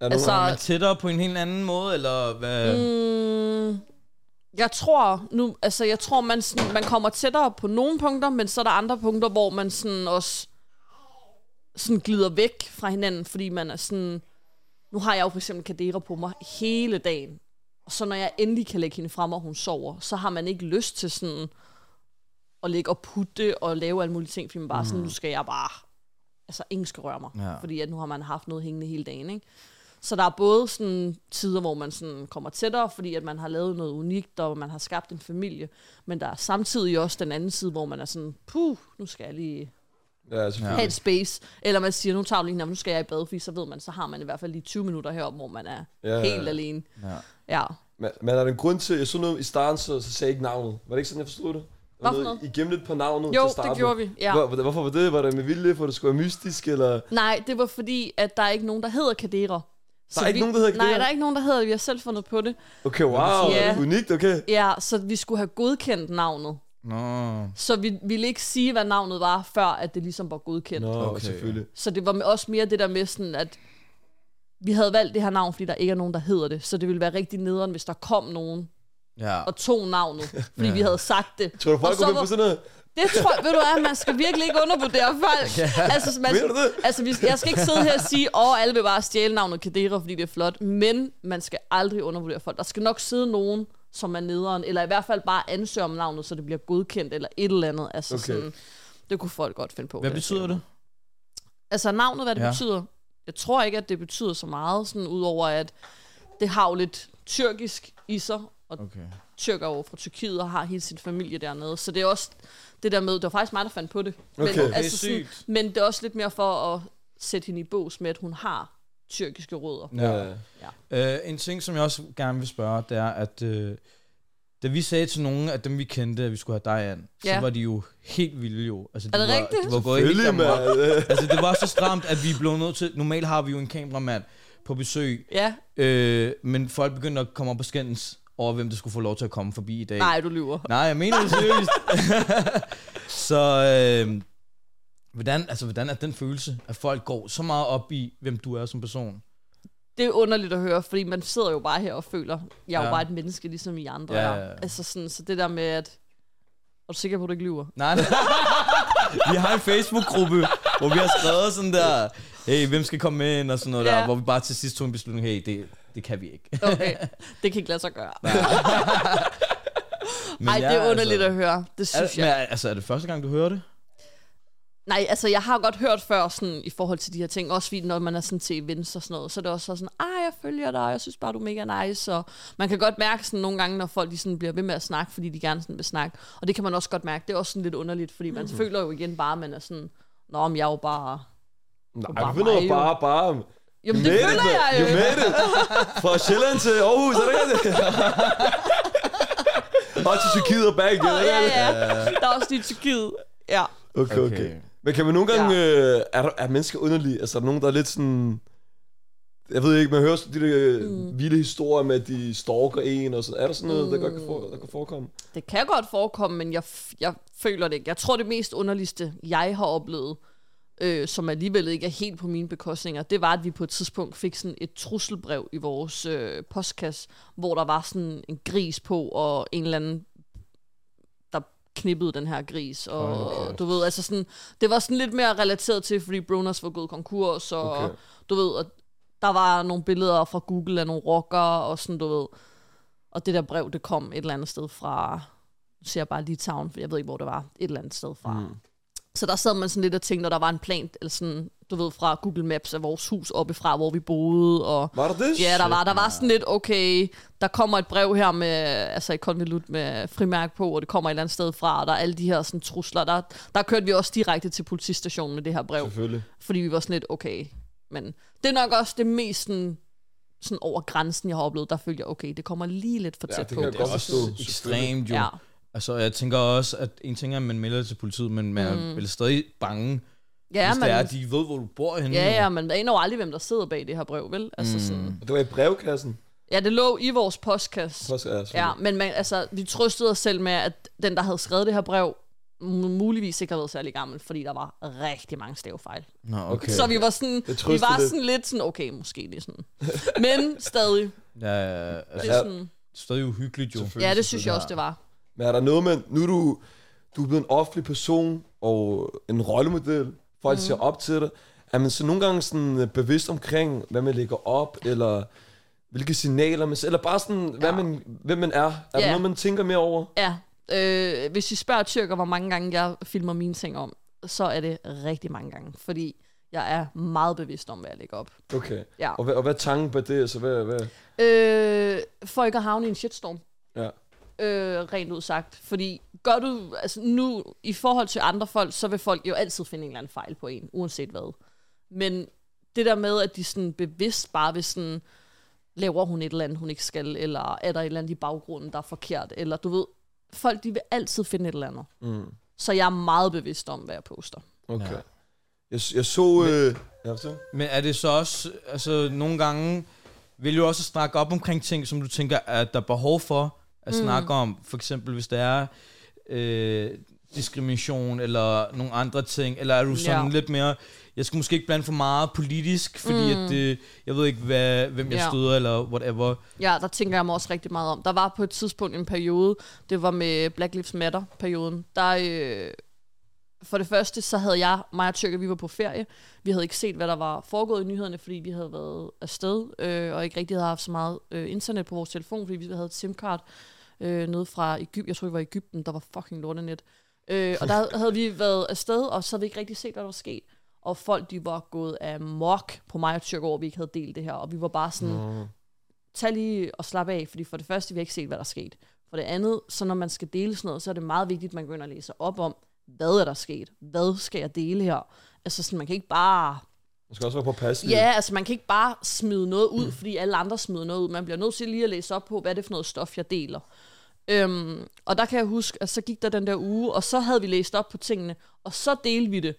Speaker 2: Er der
Speaker 4: Altså,
Speaker 2: nogen-
Speaker 3: man tættere på en helt anden måde, eller hvad? Mm.
Speaker 4: Jeg tror nu, altså jeg tror, man, sådan, man kommer tættere på nogle punkter, men så er der andre punkter, hvor man sådan også sådan glider væk fra hinanden, fordi man er sådan, nu har jeg jo for eksempel Kadera på mig hele dagen, og så når jeg endelig kan lægge hende frem, og hun sover, så har man ikke lyst til sådan at ligge og putte og lave alle mulige ting, fordi man bare sådan, nu skal jeg bare, altså ingen skal røre mig,
Speaker 3: Ja.
Speaker 4: fordi at nu har man haft noget hængende hele dagen, ikke? Så der er både sådan tider, hvor man sådan kommer tættere, fordi at man har lavet noget unikt, og man har skabt en familie. Men der er samtidig også den anden side, hvor man er sådan, puh, nu skal jeg lige
Speaker 2: Ja, selvfølgelig.
Speaker 4: have et space. Eller man siger, nu tager du lige, en nap, nu skal jeg i bad, fordi så ved man, så har man i hvert fald lige 20 minutter heroppe, hvor man er
Speaker 2: Ja, ja,
Speaker 4: ja,
Speaker 2: ja.
Speaker 4: helt alene.
Speaker 3: Ja.
Speaker 4: Ja.
Speaker 2: Men, men er der en grund til, jeg så noget i starten, så, så sagde jeg ikke navnet. Var det ikke sådan, jeg forstod det? Der var
Speaker 4: Hvad for
Speaker 2: I gemte lidt på navnet
Speaker 4: Jo,
Speaker 2: til
Speaker 4: det
Speaker 2: at starte
Speaker 4: gjorde
Speaker 2: med.
Speaker 4: vi, ja.
Speaker 2: Hvor, hvor- hvorfor var det? Var det med vilje, for at det skulle være mystisk, eller...
Speaker 4: Nej, det var fordi, at der er ikke nogen, der hedder Kadera. Så
Speaker 2: er ikke nogen, der hedder
Speaker 4: Nej,
Speaker 2: Kadera?
Speaker 4: der er ikke nogen, der hedder det. Vi har selv fundet på det.
Speaker 2: Okay, wow,
Speaker 4: Ja.
Speaker 2: unikt, okay.
Speaker 4: Ja, så vi skulle have godkendt navnet.
Speaker 3: Nå.
Speaker 4: Så vi ville ikke sige, hvad navnet var, før at det ligesom var godkendt.
Speaker 2: Nå,
Speaker 3: Okay,
Speaker 2: okay, selvfølgelig.
Speaker 4: Så det var også mere det der med sådan, at vi havde valgt det her navn, fordi der ikke er nogen, der hedder det. Så det ville være rigtig nederen, hvis der kom nogen
Speaker 3: Ja.
Speaker 4: og
Speaker 2: *laughs*
Speaker 4: tog navnet, fordi vi havde sagt det.
Speaker 2: Tror du, folk
Speaker 4: og
Speaker 2: kunne finde på
Speaker 4: var,
Speaker 2: sådan noget?
Speaker 4: det tror jeg, ved du hvad, man skal virkelig ikke undervurdere folk. Yeah. Altså, man,
Speaker 2: Mener du det?
Speaker 4: altså, vi- jeg skal ikke sidde her og sige, åh, alle vil bare stjæle navnet Kadera, fordi det er flot. Men man skal aldrig undervurdere folk. Der skal nok sidde nogen, som er nederen, eller i hvert fald bare ansøge om navnet, så det bliver godkendt, eller et eller andet. Altså,
Speaker 2: Okay.
Speaker 4: okay. sådan, det kunne folk godt finde på.
Speaker 3: Hvad
Speaker 4: vil jeg sige.
Speaker 3: betyder det?
Speaker 4: Altså navnet, hvad det
Speaker 3: Ja.
Speaker 4: ja. betyder. Jeg tror ikke, at det betyder så meget, sådan udover at det har jo lidt tyrkisk i sig, og
Speaker 3: Okay.
Speaker 4: tyrker jo fra Tyrkiet og har hele sin familie dernede. Så det er også det der med, det var faktisk mig, der fandt på det. Men,
Speaker 2: Okay. Okay,
Speaker 4: altså, sådan,
Speaker 3: sygt.
Speaker 4: men det er også lidt mere for at sætte hende i bås med, at hun har tyrkiske rødder.
Speaker 2: Ja.
Speaker 3: Uh, en ting, som jeg også gerne vil spørge, det er, at uh, da vi sagde til nogen af dem, vi kendte, at vi skulle have dig an, så
Speaker 4: Ja.
Speaker 3: var de jo helt vilde jo. Altså, de
Speaker 4: Er det
Speaker 3: var,
Speaker 4: rigtigt?
Speaker 3: De var gået helt
Speaker 2: Selvfølgelig,
Speaker 3: amok.
Speaker 2: mand. *laughs*
Speaker 3: Altså, det var så stramt, at vi blev nødt til... Normalt har vi jo en kameramand på besøg,
Speaker 4: Ja,
Speaker 3: øh, men folk begyndte at komme op og skændes over, hvem der skulle få lov til at komme forbi i dag.
Speaker 4: nej, du lyver.
Speaker 3: Nej, jeg mener det seriøst. *laughs* så øh, hvordan, altså, hvordan er den følelse, at folk går så meget op i, hvem du er som person?
Speaker 4: Det er underligt at høre, fordi man sidder jo bare her og føler, jeg er
Speaker 3: Ja.
Speaker 4: jo bare et menneske, ligesom I andre
Speaker 3: Ja,
Speaker 4: er.
Speaker 3: ja, ja.
Speaker 4: Altså sådan, så det der med, at er du sikker på, at du ikke lyver?
Speaker 3: Nej, *laughs* nej. vi har en Facebook-gruppe, hvor vi har skrevet sådan der, hey, hvem skal komme med ind og sådan noget ja.
Speaker 4: Ja.
Speaker 3: der, hvor vi bare til sidst tog en beslutning, hey, det, det kan vi ikke. *laughs*
Speaker 4: Okay, det kan ikke lade sig gøre.
Speaker 3: Men
Speaker 4: Nej, det
Speaker 3: jeg
Speaker 4: er underligt
Speaker 3: altså,
Speaker 4: at høre. Det
Speaker 3: Er,
Speaker 4: synes
Speaker 3: men
Speaker 4: jeg.
Speaker 3: er, altså, er det første gang, du hører det?
Speaker 4: Nej, altså jeg har godt hørt før sådan, i forhold til de her ting, også fordi når man er sådan til events og sådan noget, så er det også sådan, ah, jeg følger dig, jeg synes bare, du er mega nice, og man kan godt mærke sådan nogle gange, når folk de sådan bliver ved med at snakke, fordi de gerne sådan vil snakke, og det kan man også godt mærke, det er også sådan lidt underligt, fordi man mm. føler jo igen bare, at man er sådan, nå, om jeg er jo bare...
Speaker 2: Nej,
Speaker 4: Bare
Speaker 2: vi finder
Speaker 4: mig,
Speaker 2: jo
Speaker 4: jo.
Speaker 2: bare, bare...
Speaker 4: Jo, men det
Speaker 2: it,
Speaker 4: føler
Speaker 2: mand.
Speaker 4: jeg
Speaker 2: You
Speaker 4: jo.
Speaker 2: made it. Fra Sjælland til Aarhus, er det ikke
Speaker 4: *laughs*
Speaker 2: det? Og til Tyrkiet og back igen, er
Speaker 4: Åh,
Speaker 2: det
Speaker 4: Ja,
Speaker 2: ikke det?
Speaker 4: ja, der er også lige Tyrkiet. Ja.
Speaker 2: Okay, okay.
Speaker 3: Okay.
Speaker 2: okay. Men kan man nogle gange... Ja. Øh, er, der, er mennesker underlige? Altså, er der nogen, der er lidt sådan... Jeg ved ikke, man hører sådan de der mm. vilde historier med, at de stalker en og sådan. Er der sådan noget, mm. der godt kan, for, der kan forekomme?
Speaker 4: Det kan godt forekomme, men jeg, f- jeg føler det ikke. Jeg tror, det mest underligste, jeg har oplevet, øh, som alligevel ikke er helt på mine bekostninger, det var, at vi på et tidspunkt fik sådan et trusselbrev i vores øh, postkasse, hvor der var sådan en gris på, og en eller anden, der knippede den her gris. Og,
Speaker 3: Hold
Speaker 4: okay.
Speaker 3: da
Speaker 4: du ved, altså sådan, det var sådan lidt mere relateret til, fordi Broners var gået konkurs, og
Speaker 2: Okay.
Speaker 4: okay. du ved, og der var nogle billeder fra Google af nogle rockere, og sådan, du ved. Og det der brev, det kom et eller andet sted fra, nu siger jeg bare Litauen, for jeg ved ikke, hvor det var, et eller andet sted fra. Mm. Så der sad man sådan lidt og tænkte, når der var en plan, eller sådan, du ved, fra Google Maps af vores hus oppefra, hvor vi boede, og...
Speaker 2: Var der det?
Speaker 4: Ja, der var, der var sådan lidt, okay, der kommer et brev her med, altså et konvolut med frimærk på, og det kommer et eller andet sted fra, og der er alle de her sådan, trusler. Der, der kørte vi også direkte til politistationen med det her brev,
Speaker 2: Selvfølgelig.
Speaker 4: fordi vi var sådan lidt, okay, men det er nok også det mest sådan, sådan over grænsen, jeg har oplevet, der følte jeg, okay, det kommer lige lidt for
Speaker 2: Ja,
Speaker 4: tæt
Speaker 2: det
Speaker 4: på.
Speaker 2: kan jeg
Speaker 3: Det
Speaker 2: godt
Speaker 3: er også
Speaker 2: forstå,
Speaker 3: ekstremt jo.
Speaker 4: Ja.
Speaker 3: Ja. Altså, jeg tænker også, at en ting er, at man melder det til politiet, men man er vel stadig bange, ja,
Speaker 4: Mm. Ja,
Speaker 3: hvis
Speaker 4: man,
Speaker 3: det er, at de ved, hvor du bor henne.
Speaker 4: ja, ja, men aner jo aldrig, hvem der sidder bag det her brev, vel? Altså, mm. sådan,
Speaker 2: Og det var i brevkassen.
Speaker 4: ja, det lå i vores postkasse.
Speaker 2: Post, ja, selvfølgelig.
Speaker 4: Ja, men man, altså, vi trøstede os selv med, at den, der havde skrevet det her brev, mu- muligvis ikke har været særlig gammel, fordi der var rigtig mange stavefejl.
Speaker 3: Nå, okay.
Speaker 4: Så vi var sådan,
Speaker 2: Det
Speaker 4: vi
Speaker 2: trøster
Speaker 4: var
Speaker 2: lidt.
Speaker 4: sådan lidt sådan, okay, måske det er sådan. Men stadig,
Speaker 3: Ja, ja,
Speaker 4: det
Speaker 3: altså,
Speaker 4: er sådan,
Speaker 3: stadig uhyggeligt jo.
Speaker 4: ja, det synes jeg også, det var.
Speaker 2: Men er der noget med, nu er du, du er blevet en offentlig person og en rollemodel, folk mm. ser op til dig, er man så nogle gange sådan øh, bevidst omkring, hvad man lægger op, eller hvilke signaler man eller bare sådan, ja. hvad man, hvem man er. Er yeah. der
Speaker 4: Ja.
Speaker 2: noget, man tænker mere over?
Speaker 4: Ja, øh, hvis I spørger tyrker, hvor mange gange jeg filmer mine ting om, så er det rigtig mange gange, fordi jeg er meget bevidst om, hvad jeg lægger op.
Speaker 2: Okay.
Speaker 4: Ja.
Speaker 2: Og, hvad, og hvad er tanken på det? Altså, hvad, hvad?
Speaker 4: Øh, for ikke at havne i en shitstorm.
Speaker 2: Ja.
Speaker 4: Øh, rent ud sagt. Fordi gør du, altså nu, i forhold til andre folk, så vil folk jo altid finde en eller anden fejl på en, uanset hvad. Men det der med, at de sådan bevidst bare vil sådan, laver hun et eller andet, hun ikke skal, eller er der et eller andet i baggrunden, der er forkert, eller du ved, folk de vil altid finde et eller andet.
Speaker 2: Mm.
Speaker 4: Så jeg er meget bevidst om, hvad jeg poster.
Speaker 2: Okay.
Speaker 3: Ja.
Speaker 2: Ja. Jeg, jeg så... Øh, ja, så?
Speaker 3: Men er det så også, altså nogle gange vil du også snakke op omkring ting, som du tænker, at der er behov for
Speaker 4: Mm.
Speaker 3: at snakke om. For eksempel, hvis der er øh, diskrimination eller nogle andre ting. Eller er du sådan
Speaker 4: Ja.
Speaker 3: lidt mere, jeg skal måske ikke blande for meget politisk, fordi mm. at, øh, jeg ved ikke, hvad, hvem jeg
Speaker 4: Ja.
Speaker 3: støder eller whatever.
Speaker 4: Ja, der tænker jeg mig også rigtig meget om. Der var på et tidspunkt en periode, det var med Black Lives Matter-perioden, der... Øh, for det første, så havde jeg, mig og Tyrker, vi var på ferie. Vi havde ikke set, hvad der var foregået i nyhederne, fordi vi havde været afsted, øh, og ikke rigtig havde haft så meget øh, internet på vores telefon, fordi vi havde et simkart øh, nede fra Egypten. Jeg tror, det var Egypten, der var fucking lortenet. Øh, og der havde vi været afsted, og så havde vi ikke rigtig set, hvad der var sket. Og folk, de var gået af mok på mig og Tyrker over, at vi ikke havde delt det her. Og vi var bare sådan,
Speaker 2: Mm.
Speaker 4: tag lige og slap af, fordi for det første, vi har ikke set, hvad der er sket. For det andet, så når man skal dele sådan noget, så er det meget vigtigt, at man går ind og læser op om, hvad er der sket? Hvad skal jeg dele her? Altså sådan, man kan ikke bare...
Speaker 2: Man skal også være påpasselig.
Speaker 4: Ja, altså man kan ikke bare smide noget ud, fordi alle andre smider noget ud. Man bliver nødt til lige at læse op på, hvad er det for noget stof, jeg deler. Øhm, og der kan jeg huske, at så gik der den der uge, og så havde vi læst op på tingene, og så delte vi det.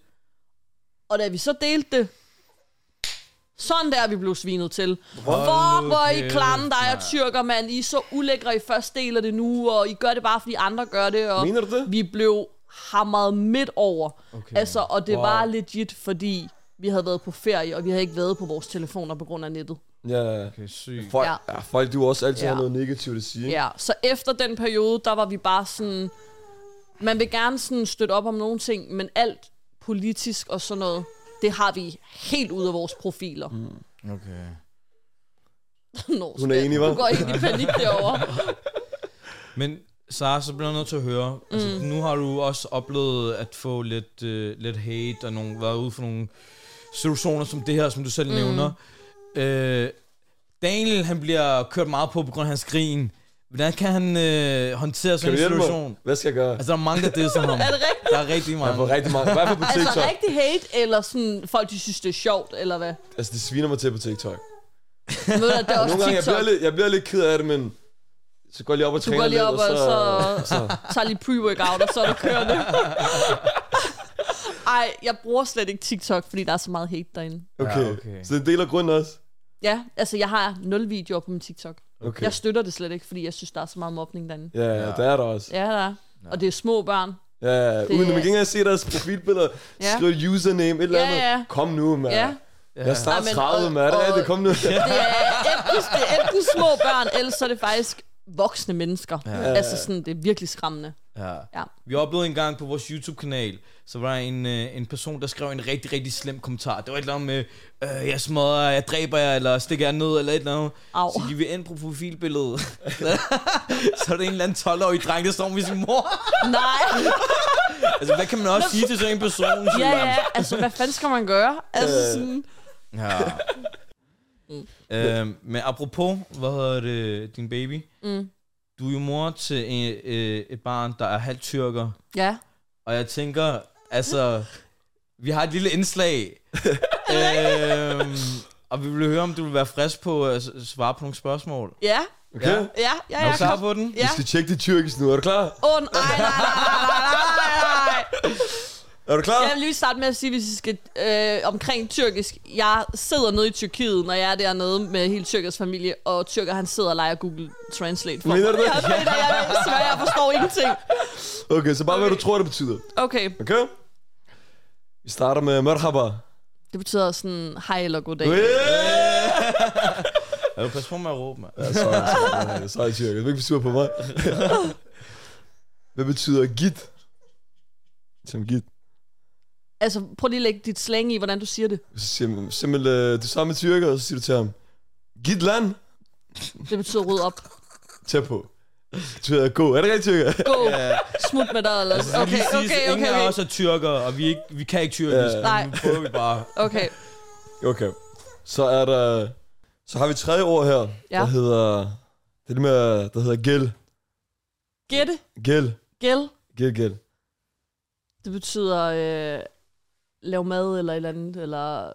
Speaker 4: Og da vi så delte det, sådan der er vi blev svinet til. Hvor
Speaker 3: nu
Speaker 4: var I
Speaker 3: kæft,
Speaker 4: klamme dig og
Speaker 3: mand.
Speaker 4: tyrker, mand. I er så ulækre, I først deler det nu, og I gør det bare, fordi andre gør det. Og
Speaker 2: Mener du det?
Speaker 4: Vi blev hamret midt over. Okay. Altså, og det wow.
Speaker 2: Wow.
Speaker 4: var legit, fordi vi havde været på ferie, og vi havde ikke været på vores telefoner på grund af nettet.
Speaker 2: Ja.
Speaker 3: Okay, sygt.
Speaker 2: Folk,
Speaker 4: Ja.
Speaker 2: ja. ja. folk, du også altid
Speaker 4: Ja.
Speaker 2: ja. har noget negativt at sige.
Speaker 4: Ja, så efter den periode, der var vi bare sådan... Man vil gerne sådan støtte op om nogle ting, men alt politisk og sådan noget, det har vi helt ud af vores profiler. Mm.
Speaker 3: Okay.
Speaker 4: *laughs* Nå,
Speaker 2: Hun er
Speaker 4: Svend,
Speaker 2: enig, hva'?
Speaker 4: Du går ikke i panik derovre.
Speaker 3: Men Sara, så bliver jeg nødt til at høre. Altså, mm. Nu har du også oplevet at få lidt, øh, lidt hate og nogle, været ude for nogle situationer som det her, som du selv mm. nævner. Øh, Daniel, han bliver kørt meget på på grund af hans grin. Hvordan kan han øh, håndtere
Speaker 2: Kan
Speaker 3: sådan
Speaker 2: du
Speaker 3: en
Speaker 2: hjælpe
Speaker 3: situation?
Speaker 2: mig? Hvad skal jeg gøre? Altså,
Speaker 3: Altså, der er mange, der disser ham.
Speaker 4: Er det rigtigt?
Speaker 2: *laughs*
Speaker 3: Der er rigtig
Speaker 2: jeg får
Speaker 3: mange.
Speaker 2: rigtig mange. I hvert fald på TikTok.
Speaker 4: Altså rigtig hate, eller sådan folk, de synes, det er sjovt, eller hvad?
Speaker 2: Altså, det sviner mig til på TikTok.
Speaker 4: Men ved du, det er også
Speaker 2: Nogle gange, jeg
Speaker 4: TikTok.
Speaker 2: bliver, lidt, jeg bliver lidt ked af det, men så går jeg lige op og
Speaker 4: Du
Speaker 2: træner
Speaker 4: går lige op,
Speaker 2: lidt,
Speaker 4: og så,
Speaker 2: så...
Speaker 4: tager lige pre-workout, og så er du kørende. Ej, jeg bruger slet ikke TikTok, fordi der er så meget hate derinde.
Speaker 2: Okay.
Speaker 3: Ja,
Speaker 2: Ja,
Speaker 3: okay.
Speaker 2: okay. Så det deler grunden også?
Speaker 4: Ja, altså jeg har nul videoer på min TikTok.
Speaker 2: Okay.
Speaker 4: Jeg støtter det slet ikke, fordi jeg synes, der er så meget mobning derinde.
Speaker 2: Ja, ja, der er der også.
Speaker 4: Ja, der er. Og det er små børn.
Speaker 2: Ja, ja. Uden at
Speaker 4: er-
Speaker 2: man ikke engang se deres profilbilleder,
Speaker 4: Ja.
Speaker 2: skriv username, et eller
Speaker 4: Ja,
Speaker 2: andet.
Speaker 4: ja.
Speaker 2: Kom nu, mand.
Speaker 4: Ja.
Speaker 2: Jeg er snart
Speaker 4: Ej, men-
Speaker 2: 30, mand. Er det
Speaker 4: og-
Speaker 2: rigtigt? Kom nu.
Speaker 4: Det er enten, det er enten små børn, eller så er det faktisk voksne mennesker. Ja. Altså sådan, det er virkelig skræmmende.
Speaker 3: Ja.
Speaker 4: Ja.
Speaker 3: Vi oplevede en gang på vores YouTube-kanal, så var der en, øh, en person, der skrev en rigtig, rigtig slem kommentar. Det var et eller andet med, øh, jeg smadrer, jer, jeg dræber jer, eller stikker jer ned, eller et eller andet.
Speaker 4: Au.
Speaker 3: Så gik vi ind på profilbilledet. *laughs* så er det en eller anden 12-årig dreng, der står med sin mor.
Speaker 4: Nej,
Speaker 3: Altså, hvad kan man også sige til sådan en person?
Speaker 4: *laughs* ja, ja, altså hvad fanden skal man gøre? Altså sådan,
Speaker 3: ja. øhm, men apropos, hvad hedder det, din baby?
Speaker 4: Mm.
Speaker 3: Du er jo mor til en, øh, et barn, der er halvt tyrker.
Speaker 4: ja.
Speaker 3: Og jeg tænker, altså, vi har et lille
Speaker 4: *laughs*
Speaker 3: indslag. øhm, og vi vil høre, om du vil være frisk på at s- svare på nogle spørgsmål.
Speaker 4: Ja,
Speaker 2: Okay.
Speaker 4: ja, ja,
Speaker 3: Er
Speaker 4: ja.
Speaker 3: du klar på den?
Speaker 2: Vi
Speaker 4: Ja.
Speaker 2: skal tjekke det tyrkisk nu. Er du klar?
Speaker 4: Åh, oh, nej, nej, nej, nej, nej, nej, nej.
Speaker 2: Er du klar?
Speaker 4: Jeg vil lige starte med at sige, hvis I skal øh, omkring tyrkisk. Jeg sidder nede i Tyrkiet, når jeg er dernede med hele tyrkers familie, og tyrker han sidder og leger Google Translate for mig.
Speaker 2: Mener du det?
Speaker 4: Jeg, mener, jeg, jeg, svært, jeg forstår ingenting.
Speaker 2: Okay, så bare okay. hvad
Speaker 4: Okay.
Speaker 2: du tror, det betyder.
Speaker 4: Okay,
Speaker 2: Okay? Vi starter med merhaba.
Speaker 4: det betyder sådan hej eller goddag.
Speaker 2: Yeah!
Speaker 3: Ja, pas på med at råbe, mand.
Speaker 2: Ja, sorry, sorry, *laughs* sorry, Tjørk. Du er ikke sur på
Speaker 4: *laughs*
Speaker 2: mig. Hvad betyder git? Som git.
Speaker 4: Altså, prøv lige at lægge dit slang i, hvordan du siger det.
Speaker 2: Så siger man simpelthen, du sammen med tyrker, og så siger du til ham, git land,
Speaker 4: Det betyder ryd op.
Speaker 2: tag på. Det betyder gå. Er det rigtigt, tyrker?
Speaker 4: Gå, smut med dig. Eller...
Speaker 3: Det
Speaker 4: Okay,
Speaker 3: lige Altså, siges,
Speaker 4: okay,
Speaker 3: ingen
Speaker 4: okay,
Speaker 3: af
Speaker 4: okay.
Speaker 3: os er tyrker, og vi, er ikke, vi kan ikke tyrkisk.
Speaker 2: Ja.
Speaker 4: Nej.
Speaker 3: men Nu prøver vi bare.
Speaker 4: okay.
Speaker 2: Okay. Så er der... Så har vi et tredje ord her, ja.
Speaker 4: Ja.
Speaker 2: der hedder... Det er det med, der hedder gæld.
Speaker 4: Gætte,
Speaker 2: Gæld.
Speaker 4: gæld.
Speaker 2: Gæld, gæld.
Speaker 4: Det betyder øh, lav mad eller et eller andet, eller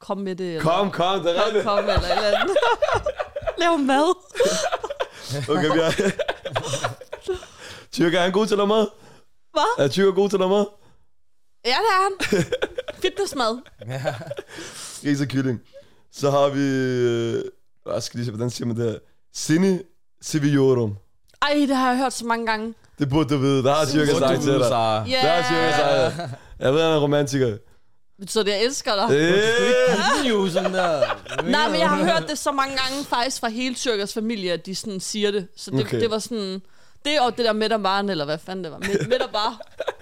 Speaker 4: kom med det. Eller,
Speaker 2: Kom, kom, det er
Speaker 4: kom,
Speaker 2: rigtigt.
Speaker 4: kom eller et eller andet. *laughs* lav mad.
Speaker 2: Okay, vi har... Tyrker, er han god til at lave mad?
Speaker 4: Hvad?
Speaker 2: Er Tyrker god til at lave mad?
Speaker 4: Ja, det er han. Fitnessmad.
Speaker 2: Ris og kylling. Så har vi... Øh, jeg skal lige se, hvordan siger man det her? Sini Civiorum.
Speaker 4: Ej, det har jeg hørt så mange gange.
Speaker 2: Det burde du vide. Der har Tyrker
Speaker 3: Hvor
Speaker 2: sagt
Speaker 3: du
Speaker 2: til
Speaker 3: ude,
Speaker 2: dig.
Speaker 3: Sara.
Speaker 4: Ja,
Speaker 2: Der har Tyrker
Speaker 4: altså-
Speaker 2: sagt det. Jeg ved, han er romantiker.
Speaker 4: betyder det, jeg elsker dig?
Speaker 2: Øh,
Speaker 3: Hun er jo sådan der. Hvad
Speaker 4: Nej,
Speaker 3: mener
Speaker 4: men jeg
Speaker 3: du?
Speaker 4: har hørt det så mange gange faktisk fra hele Tyrkers familie, at de sådan siger det. Så det,
Speaker 2: Okay.
Speaker 4: okay. det var sådan... Det og det der med der barn, eller hvad fanden det var. Med, med der bare.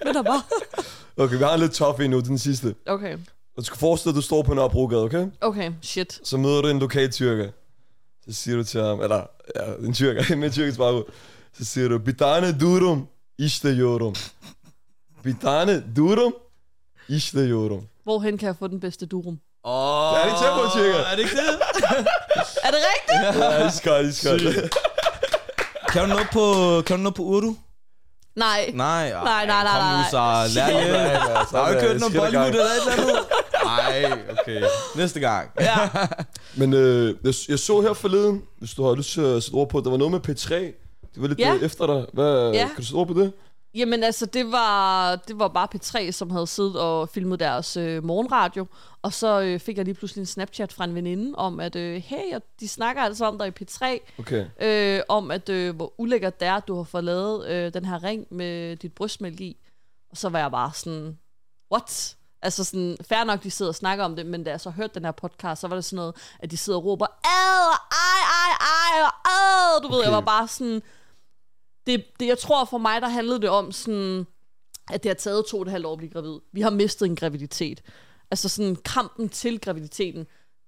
Speaker 4: Med der bare.
Speaker 2: Okay, vi har en lidt tough en nu, den sidste.
Speaker 4: Okay.
Speaker 2: Og du skal forestille dig, at du står på en oprugade, okay?
Speaker 4: Okay, shit.
Speaker 2: Så møder du en lokal tyrker. Så siger du til ham, eller ja, en tyrker, *laughs* med en tyrkisk baggrund. Så siger du, Bitane durum, işte yorum. Bitane durum, işte yorum.
Speaker 4: Hvorhen kan jeg få den bedste durum?
Speaker 3: Åh,
Speaker 2: Er det tempo, tyrker?
Speaker 3: Er det ikke det?
Speaker 4: Er det rigtigt?
Speaker 2: Ja, iskoldt, iskoldt.
Speaker 3: Kan du noget på, kan du noget på Urdu?
Speaker 4: Nej.
Speaker 3: Nej, ej,
Speaker 4: Nej, nej, nej,
Speaker 3: Kom nu,
Speaker 4: nej.
Speaker 3: så lær
Speaker 2: Nej,
Speaker 3: lidt.
Speaker 2: nej, nej,
Speaker 3: Har du
Speaker 2: sådan
Speaker 3: ikke
Speaker 2: er
Speaker 3: hørt noget
Speaker 2: skidt ad
Speaker 3: Bollywood
Speaker 2: gangen.
Speaker 3: eller et eller andet? *laughs* Nej, okay. Næste gang.
Speaker 4: Ja.
Speaker 2: *laughs* Men øh, jeg, jeg, så her forleden, hvis du har lyst til at sætte ord på, der var noget med P3. Det var lidt
Speaker 4: Ja.
Speaker 2: ja. efter dig. Hvad,
Speaker 4: Ja.
Speaker 2: Kan du sætte ord på det?
Speaker 4: Jamen altså, det var, det var bare P3, som havde siddet og filmet deres øh, morgenradio. Og så øh, fik jeg lige pludselig en Snapchat fra en veninde om, at øh, hey, og de snakker altså om dig i P3.
Speaker 2: Okay.
Speaker 4: øh, om, at øh, hvor ulækkert det er, at du har fået lavet øh, den her ring med dit brystmælk i. Og så var jeg bare sådan, what? Altså sådan, fair nok, de sidder og snakker om det, men da jeg så hørte den her podcast, så var det sådan noget, at de sidder og råber, ad, ej, ej, ej, og ad, du okay. ved, jeg var bare sådan, det, det, jeg tror for mig, der handlede det om sådan, at det har taget to og et halvt år at blive gravid. Vi har mistet en graviditet. Altså sådan kampen til graviditeten.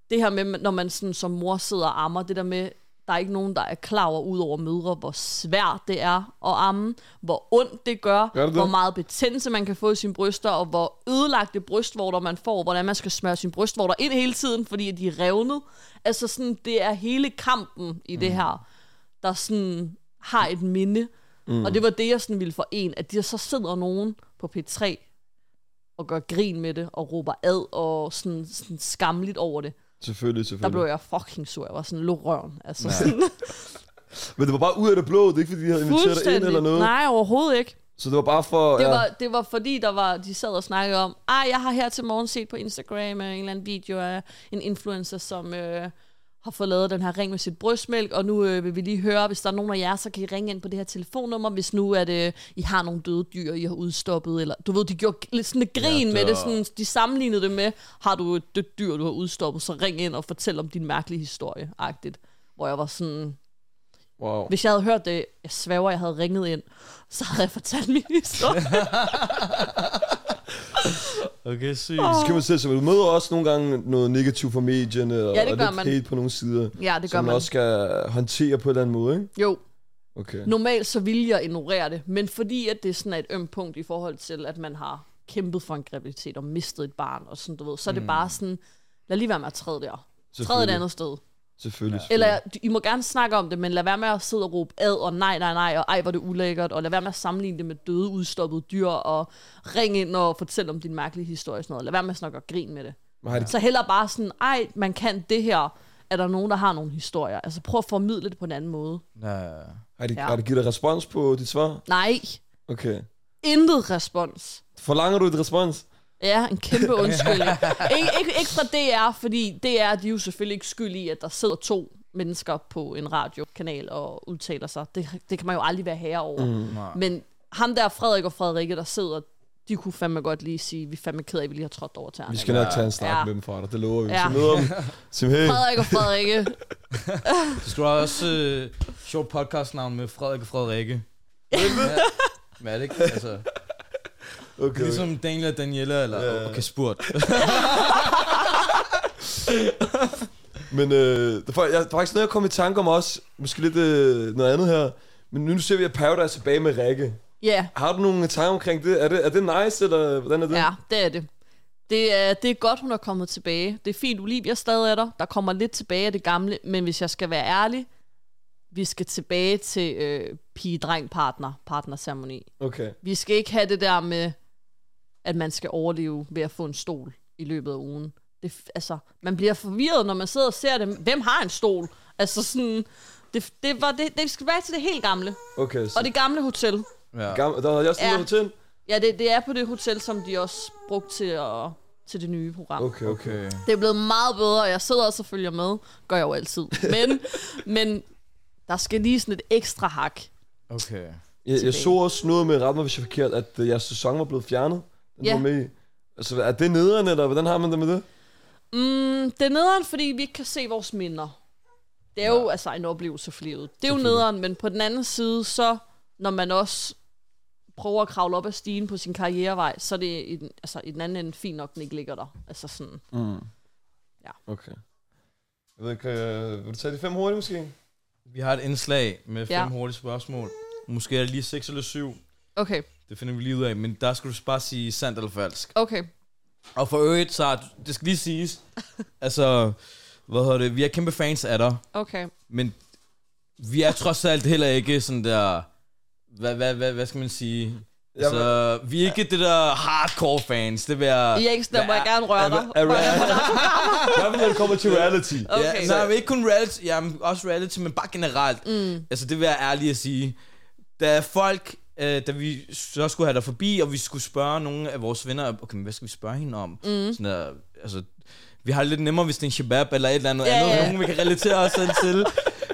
Speaker 4: Det her med, når man sådan, som mor sidder og ammer, det der med, der er ikke nogen, der er klar over, ud over mødre, hvor svært det er at amme, hvor ondt det gør,
Speaker 2: Gør det det?
Speaker 4: hvor meget betændelse man kan få i sine bryster, og hvor ødelagte brystvorter man får, hvordan man skal smøre sine brystvorter ind hele tiden, fordi de er revnet. Altså sådan, det er hele kampen i
Speaker 2: Mm.
Speaker 4: det her der sådan har et minde. Mm. Og det var det, jeg sådan ville forene, at der så sidder nogen på P3 og gør grin med det, og råber ad og sådan, sådan skamligt over det.
Speaker 2: Selvfølgelig,
Speaker 4: Der blev
Speaker 2: selvfølgelig.
Speaker 4: jeg fucking sur. Jeg var sådan, luk røven. Altså, sådan,
Speaker 2: Men det var bare ud af det blå. Det er ikke, fordi de havde inviteret dig ind eller
Speaker 4: fuldstændig.
Speaker 2: noget.
Speaker 4: Nej, overhovedet ikke.
Speaker 2: Så det var bare for...
Speaker 4: Det, var, det var fordi, der var, de sad og snakkede om, ej, jeg har her til morgen set på Instagram øh, en eller anden video af en influencer, som øh, har fået lavet den her ring med sit brystmælk, og nu øh, vil vi lige høre, hvis der er nogen af jer, så kan I ringe ind på det her telefonnummer, hvis nu at øh, I har nogle døde dyr, I har udstoppet, eller du ved, de gjorde lidt sådan et grin ja, med det, sådan, de sammenlignede det med, har du et dødt dyr, du har udstoppet, så ring ind og fortæl om din mærkelige historie, agtigt. Hvor jeg var sådan,
Speaker 2: Wow.
Speaker 4: hvis jeg havde hørt det, jeg svæver, jeg havde ringet ind, så havde jeg fortalt min historie.
Speaker 3: Okay, sygt.
Speaker 2: Så kan man selv, så man møder også nogle gange noget negativt fra medierne, og,
Speaker 4: Ja, det
Speaker 2: og
Speaker 4: gør
Speaker 2: lidt
Speaker 4: man.
Speaker 2: hate på nogle sider,
Speaker 4: Ja, det gør
Speaker 2: som man
Speaker 4: man.
Speaker 2: også skal håndtere på en eller anden måde, ikke?
Speaker 4: Jo,
Speaker 2: Okay.
Speaker 4: normalt så vil jeg ignorere det, men fordi at det er sådan er et ømt punkt i forhold til, at man har kæmpet for en graviditet og mistet et barn, og sådan, du ved, så er det bare sådan, lad lige være med at træde der. Træd et
Speaker 2: Selvfølgelig.
Speaker 4: andet sted.
Speaker 2: Selvfølgelig. Ja.
Speaker 4: Eller I må gerne snakke om det, men lad være med at sidde og råbe ad, og nej, nej, nej, og ej, hvor er det ulækkert, og lad være med at sammenligne det med døde, udstoppede dyr, og ring ind og fortæl om din mærkelige historie og sådan noget. Lad være med at snakke og grine med det.
Speaker 2: Men har de,
Speaker 4: Så heller bare sådan, ej, man kan det her, er der nogen, der har nogle historier? Altså prøv at formidle det på en anden måde.
Speaker 3: Ja.
Speaker 2: har, de,
Speaker 4: Ja.
Speaker 2: har de givet dig respons på dit svar?
Speaker 4: Nej,
Speaker 2: Okay.
Speaker 4: intet respons.
Speaker 2: Forlanger du et respons?
Speaker 4: Ja, en kæmpe undskyldning. ikke, ikke, ikke fra DR, fordi DR de er jo selvfølgelig ikke skyld i, at der sidder to mennesker på en radiokanal og udtaler sig. Det, det kan man jo aldrig være herre over. Mm, Men ham der Frederik og Frederikke, der sidder, de kunne fandme godt lige sige, vi er fandme ked af, at vi lige har trådt over til
Speaker 2: Vi
Speaker 4: andre.
Speaker 2: skal nok tage en snak
Speaker 4: Ja.
Speaker 2: med dem fra dig, det lover vi.
Speaker 4: Ja.
Speaker 2: Så møder
Speaker 4: *laughs*
Speaker 2: dem. Sim, hey.
Speaker 4: Frederik og Frederikke.
Speaker 3: Det skulle også øh, sjovt podcastnavn med Frederik og Frederikke. Ja. Men er det ikke? Altså, okay.
Speaker 2: Okay. Ligesom.
Speaker 3: Ligesom Daniel og Daniela, eller
Speaker 2: Ja.
Speaker 3: yeah. okay, spurt.
Speaker 2: Men øh, der, får- jeg, der er faktisk noget, jeg kom i tanke om også. Måske lidt øh, noget andet her. Men nu ser vi, at Paradise er tilbage med Rikke.
Speaker 4: Ja,
Speaker 2: Har du nogle tanker omkring det? Er det, er det nice, eller hvordan er det?
Speaker 4: ja, det er det. Det er, det er godt, hun er kommet tilbage. Det er fint, Olivia stadig er der. Der kommer lidt tilbage af det gamle, men hvis jeg skal være ærlig, vi skal tilbage til øh, pige-dreng-partner, partnerceremoni.
Speaker 2: Okay.
Speaker 4: Vi skal ikke have det der med, at man skal overleve ved at få en stol i løbet af ugen. Det, f- altså, man bliver forvirret, når man sidder og ser det. Hvem har en stol? Altså sådan, det, det, var, det, det skal være til det helt gamle.
Speaker 2: Okay, så
Speaker 4: Og det gamle hotel.
Speaker 3: Ja.
Speaker 2: Gammel, der havde jeg også
Speaker 4: Ja.
Speaker 2: ja. noget til.
Speaker 4: Ja, det, det er på det hotel, som de også brugte til, at, til det nye program. Okay.
Speaker 2: Okay, okay.
Speaker 3: Okay.
Speaker 4: Det er blevet meget bedre, og jeg sidder også og følger med. Gør jeg jo altid. Men, men der skal lige sådan et ekstra hak.
Speaker 3: Okay.
Speaker 2: Jeg, jeg
Speaker 4: Tilbage.
Speaker 2: så også noget med, ret mig hvis jeg er forkert, at øh, jeres sæson var blevet fjernet. Den
Speaker 4: Ja.
Speaker 2: ja. var med i. Altså, er det nederen, eller hvordan har man det med det?
Speaker 4: Mm, det er nederen, fordi vi ikke kan se vores minder. Det er ja. jo altså en oplevelse for livet. Det er jo nederen, men på den anden side, så når man også prøver at kravle op ad stigen på sin karrierevej, så er det i den, altså, i den anden ende fint nok, den ikke ligger der. Altså sådan,
Speaker 2: Mm.
Speaker 4: Ja.
Speaker 2: Okay. Jeg ved ikke, øh, vil du tage de fem hurtigt måske?
Speaker 3: Vi har et indslag med fem
Speaker 4: Ja.
Speaker 3: ja. hurtige spørgsmål. Måske er det lige seks eller syv.
Speaker 4: okay,
Speaker 3: Det finder vi lige ud af, men der skulle du bare sige sandt eller falsk.
Speaker 4: okay.
Speaker 3: Og for øvrigt, så er du- det skal lige
Speaker 4: *laughs*
Speaker 3: siges, altså, hvad hedder det, vi er kæmpe fans af dig,
Speaker 4: Okay.
Speaker 3: men vi er trods alt heller ikke sådan der, hvad, hvad, hvad, hvad skal man sige? Altså, vi er ikke det der hardcore fans, det vil jeg...
Speaker 4: I er ikke sådan, der må jeg gerne røre dig.
Speaker 2: Er reality? Hvad vil man kommer til reality?
Speaker 4: Okay.
Speaker 3: Ja, nej, men ikke kun reality, ja, men også reality, men bare generelt. Mm. Altså, det vil jeg ærlig at sige. Da folk, øh, da vi så skulle have dig forbi, og vi skulle spørge nogle af vores venner, okay, men hvad skal vi spørge hende om? Mm. Sådan der, altså, vi har det lidt nemmere, hvis det er en shabab eller et eller andet
Speaker 4: Ja,
Speaker 3: ja, andet,
Speaker 4: ja.
Speaker 3: ja. nogen vi kan relatere os selv til.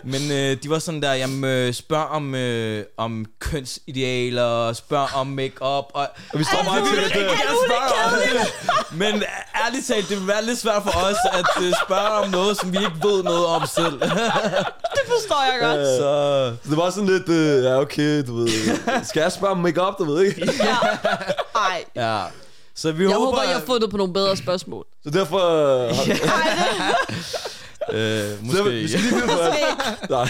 Speaker 3: Men øh, de var sådan der, jamen øh, spørg om, øh, om kønsidealer, spørg om makeup og...
Speaker 2: Og vi står meget til det.
Speaker 3: Jeg
Speaker 2: der.
Speaker 3: spørger om. Men ærligt talt, det vil være lidt svært for os at øh, spørge om noget, som vi ikke ved noget om selv.
Speaker 4: Det forstår jeg godt.
Speaker 2: Øh,
Speaker 3: Så
Speaker 2: Så det var sådan lidt, øh, ja okay, du ved, skal jeg spørge om make-up, du ved ikke?
Speaker 4: Ja. Ej.
Speaker 3: ja. Så vi
Speaker 4: Jeg
Speaker 3: håber,
Speaker 4: håber, jeg har fundet på nogle bedre spørgsmål.
Speaker 2: Så derfor, øh, har- *laughs*
Speaker 3: øh,
Speaker 2: så derfor
Speaker 3: måske
Speaker 2: vi
Speaker 3: ikke.
Speaker 2: skal lige vide, hvad- *laughs* Nej.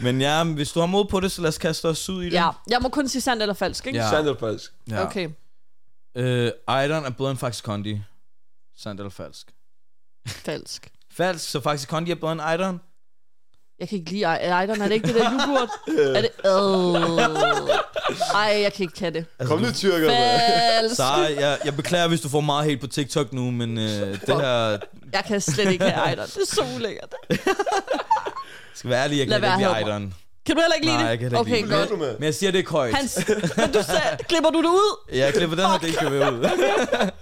Speaker 3: Men ja, hvis du har mod på det, så lad os kaste os ud i det.
Speaker 4: *laughs* Ja, jeg må kun sige sandt eller falsk, ikke?
Speaker 3: Ja.
Speaker 2: Sandt eller falsk?
Speaker 3: Ja.
Speaker 4: Okay.
Speaker 3: Øh, Iron er bedre end Faxe Kondi. Sandt eller falsk?
Speaker 4: Falsk.
Speaker 3: Falsk, så Faxe Kondi er bedre end Iron?
Speaker 4: Jeg kan ikke lide Ejderen. Er det ikke det
Speaker 3: *laughs*
Speaker 4: der yoghurt? er det... Øh. Ej, jeg kan ikke have det.
Speaker 2: Kom nu, tyrker. mand.
Speaker 4: Falsk.
Speaker 3: Altså, Sara, jeg, jeg beklager, hvis du får meget helt på TikTok nu, men øh, det her...
Speaker 4: Jeg kan slet ikke have Ejderen. Det er så ulækkert.
Speaker 3: Skal være ærlig, jeg
Speaker 4: Lad
Speaker 3: kan ikke
Speaker 4: være
Speaker 3: lide
Speaker 4: herover.
Speaker 3: Iron.
Speaker 4: Kan du heller ikke lide
Speaker 3: Nej,
Speaker 4: det?
Speaker 3: jeg kan heller ikke
Speaker 4: okay,
Speaker 3: lide
Speaker 2: det.
Speaker 4: godt.
Speaker 2: Hvad er du med?
Speaker 3: Men jeg siger, det er køjt.
Speaker 4: Hans, men du sagde, klipper du det ud?
Speaker 3: Jeg klipper den her del kan være ud.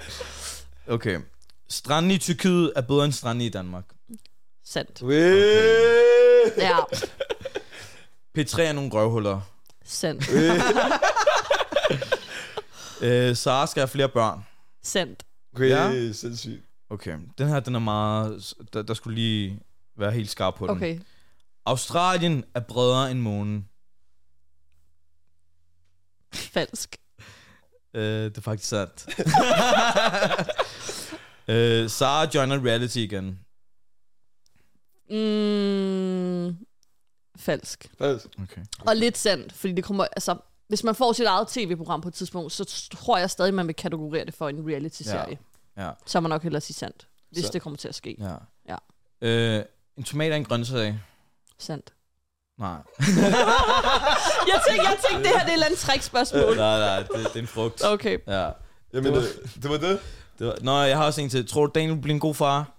Speaker 3: *laughs* Okay. Stranden i Tyrkiet er bedre end stranden i Danmark.
Speaker 4: Sandt.
Speaker 2: Øh.
Speaker 4: Ja,
Speaker 3: P3 er nogle røvhuller.
Speaker 4: sandt.
Speaker 3: Øh, Sara skal have flere børn.
Speaker 4: Sandt.
Speaker 2: Okay,
Speaker 3: Ja.
Speaker 2: sindssygt.
Speaker 3: Okay. Den her, den er meget... Der, der skulle lige være helt skarp på den.
Speaker 4: Okay.
Speaker 3: Australien er bredere end månen.
Speaker 4: Falsk.
Speaker 3: Øh, det er faktisk
Speaker 4: *laughs*
Speaker 3: sandt. øh, Sara joiner reality igen.
Speaker 4: Mm, falsk.
Speaker 2: Falsk.
Speaker 3: Okay.
Speaker 4: Og lidt sandt, fordi det kommer, altså, hvis man får sit eget tv-program på et tidspunkt, så tror jeg stadig, man vil kategorere det for en reality-serie.
Speaker 3: Ja. Ja.
Speaker 4: Så er man nok hellere sige sandt, hvis
Speaker 2: Så-
Speaker 4: det kommer til at ske.
Speaker 3: Ja.
Speaker 4: Ja.
Speaker 3: Øh, en tomat er en grøntsag.
Speaker 4: Sandt.
Speaker 3: Nej.
Speaker 4: Jeg tænkte, jeg tænkte, det her det er et eller andet trickspørgsmål.
Speaker 3: nej, nej, det, det er en frugt.
Speaker 4: Okay.
Speaker 3: Ja.
Speaker 2: Jamen,
Speaker 3: Det
Speaker 2: det, øh, det var det.
Speaker 3: Det var, nå, jeg har også en til. Tror du, Daniel bliver en god far?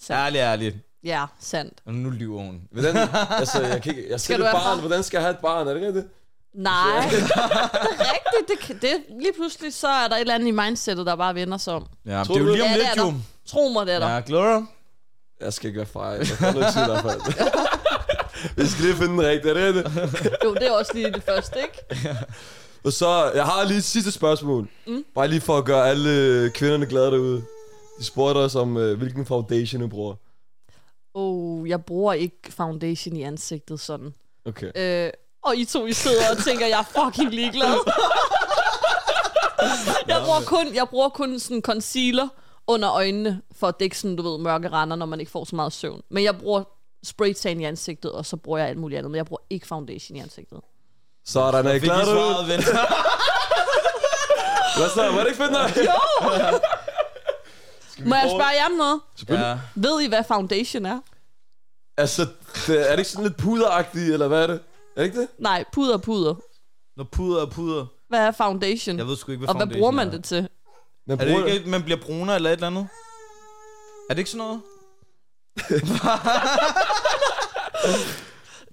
Speaker 4: Sandt.
Speaker 3: Ærligt, ærligt.
Speaker 4: Ja, sandt.
Speaker 3: Og nu lyver hun.
Speaker 2: Hvordan, altså, jeg, kan ikke, jeg
Speaker 4: Skal
Speaker 2: skal,
Speaker 4: du
Speaker 2: et
Speaker 4: have
Speaker 2: barn.
Speaker 4: barn?
Speaker 2: Hvordan skal jeg have et barn? Er det ikke det?
Speaker 4: Nej. *laughs* det er rigtigt. Det, kan- det, lige pludselig så er der et eller andet i mindsetet, der bare vender sig om.
Speaker 3: Ja,
Speaker 2: Tror
Speaker 3: det er
Speaker 2: du-
Speaker 3: jo lige om
Speaker 4: Ja, det er
Speaker 3: lidt, jo.
Speaker 4: Tro mig, det er der.
Speaker 3: Ja, glæder du dig?
Speaker 2: Jeg skal ikke være far. Jeg får noget tid i hvert fald. *laughs* Vi skal lige finde den rigtige, er det rigtigt?
Speaker 4: Jo, det er også lige det første, ikke?
Speaker 2: Og så, jeg har lige et sidste spørgsmål. Mm. Bare lige for at gøre alle øh, kvinderne glade derude. De spurgte os om, øh, hvilken foundation du bruger.
Speaker 4: Oh, jeg bruger ikke foundation i ansigtet sådan.
Speaker 2: Okay.
Speaker 4: Øh, og I to, I sidder og tænker, jeg er fucking ligeglad. jeg, bruger kun, jeg bruger kun sådan concealer under øjnene, for at dække sådan, du ved, mørke render, når man ikke får så meget søvn. Men jeg bruger spraytan i ansigtet, og så bruger jeg alt muligt andet, men jeg bruger ikke foundation i ansigtet.
Speaker 2: Så er der
Speaker 3: Jeg
Speaker 2: ikke
Speaker 3: fik
Speaker 2: glad
Speaker 3: lige
Speaker 2: derude.
Speaker 3: svaret, ven.
Speaker 2: Hvad så? Var det ikke fedt nok?
Speaker 4: Må jeg spørge jer om noget?
Speaker 2: Selvfølgelig.
Speaker 3: Ja.
Speaker 4: Ved I, hvad foundation er?
Speaker 2: Altså, det, er det ikke sådan lidt puderagtigt, eller hvad er det? Er det ikke det?
Speaker 4: Nej, puder, puder.
Speaker 3: Når puder og puder.
Speaker 4: Hvad er foundation?
Speaker 3: Jeg ved sgu ikke, hvad
Speaker 4: og hvad
Speaker 3: foundation
Speaker 4: bruger man
Speaker 3: er.
Speaker 4: det til?
Speaker 2: Man
Speaker 3: Er det
Speaker 2: bruger
Speaker 3: ikke, at man bliver brunere eller et eller andet? Er det ikke sådan noget?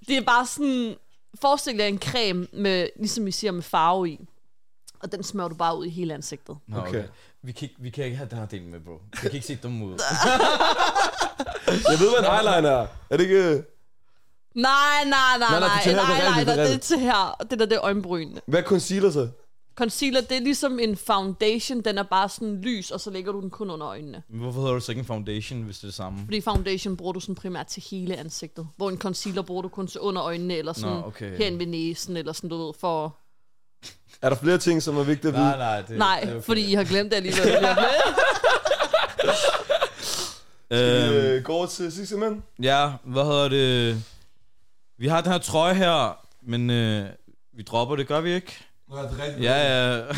Speaker 4: Det er bare sådan... Forestil dig en creme, med, ligesom I siger, med farve i. Og den smører du bare ud i hele ansigtet.
Speaker 3: Nå,
Speaker 2: Okay.
Speaker 3: Vi, kan ikke, vi kan ikke have den her del med, bro. Vi kan ikke se dem ud.
Speaker 2: Jeg ved, hvad en eyeliner er. Er det ikke... øh,
Speaker 4: Nej, nej,
Speaker 2: Nej,
Speaker 4: nej, nej,
Speaker 2: nej,
Speaker 4: nej,
Speaker 2: det er
Speaker 4: nej,
Speaker 2: rigtigt, det
Speaker 4: nej,
Speaker 2: er
Speaker 4: nej det er
Speaker 2: rigtigt.
Speaker 4: til her. Det der, det er øjenbrynene.
Speaker 2: Hvad er concealer så?
Speaker 4: Concealer, det er ligesom en foundation, den er bare sådan lys, og så lægger du den kun under øjnene.
Speaker 3: Men Hvorfor hedder du så ikke en foundation, hvis det er det samme?
Speaker 4: Fordi foundation bruger du sådan primært til hele ansigtet, hvor en concealer bruger du kun til under øjnene, eller sådan
Speaker 3: Nå, okay.
Speaker 4: hen ved næsen, eller sådan, du ved, for...
Speaker 2: Er der flere ting, som er vigtige at vide?
Speaker 3: Nej, nej. Det,
Speaker 4: Nej,
Speaker 3: det er
Speaker 4: okay.
Speaker 3: Øh, okay.
Speaker 4: fordi I har glemt det alligevel. Det er
Speaker 3: Øhm,
Speaker 2: Øh, går over til sidste mand.
Speaker 3: Ja, hvad hedder det? Vi har den her trøje her, men øh, vi dropper det, gør vi ikke?
Speaker 2: Nej, det er rigtigt.
Speaker 3: Ja, *laughs* ja. det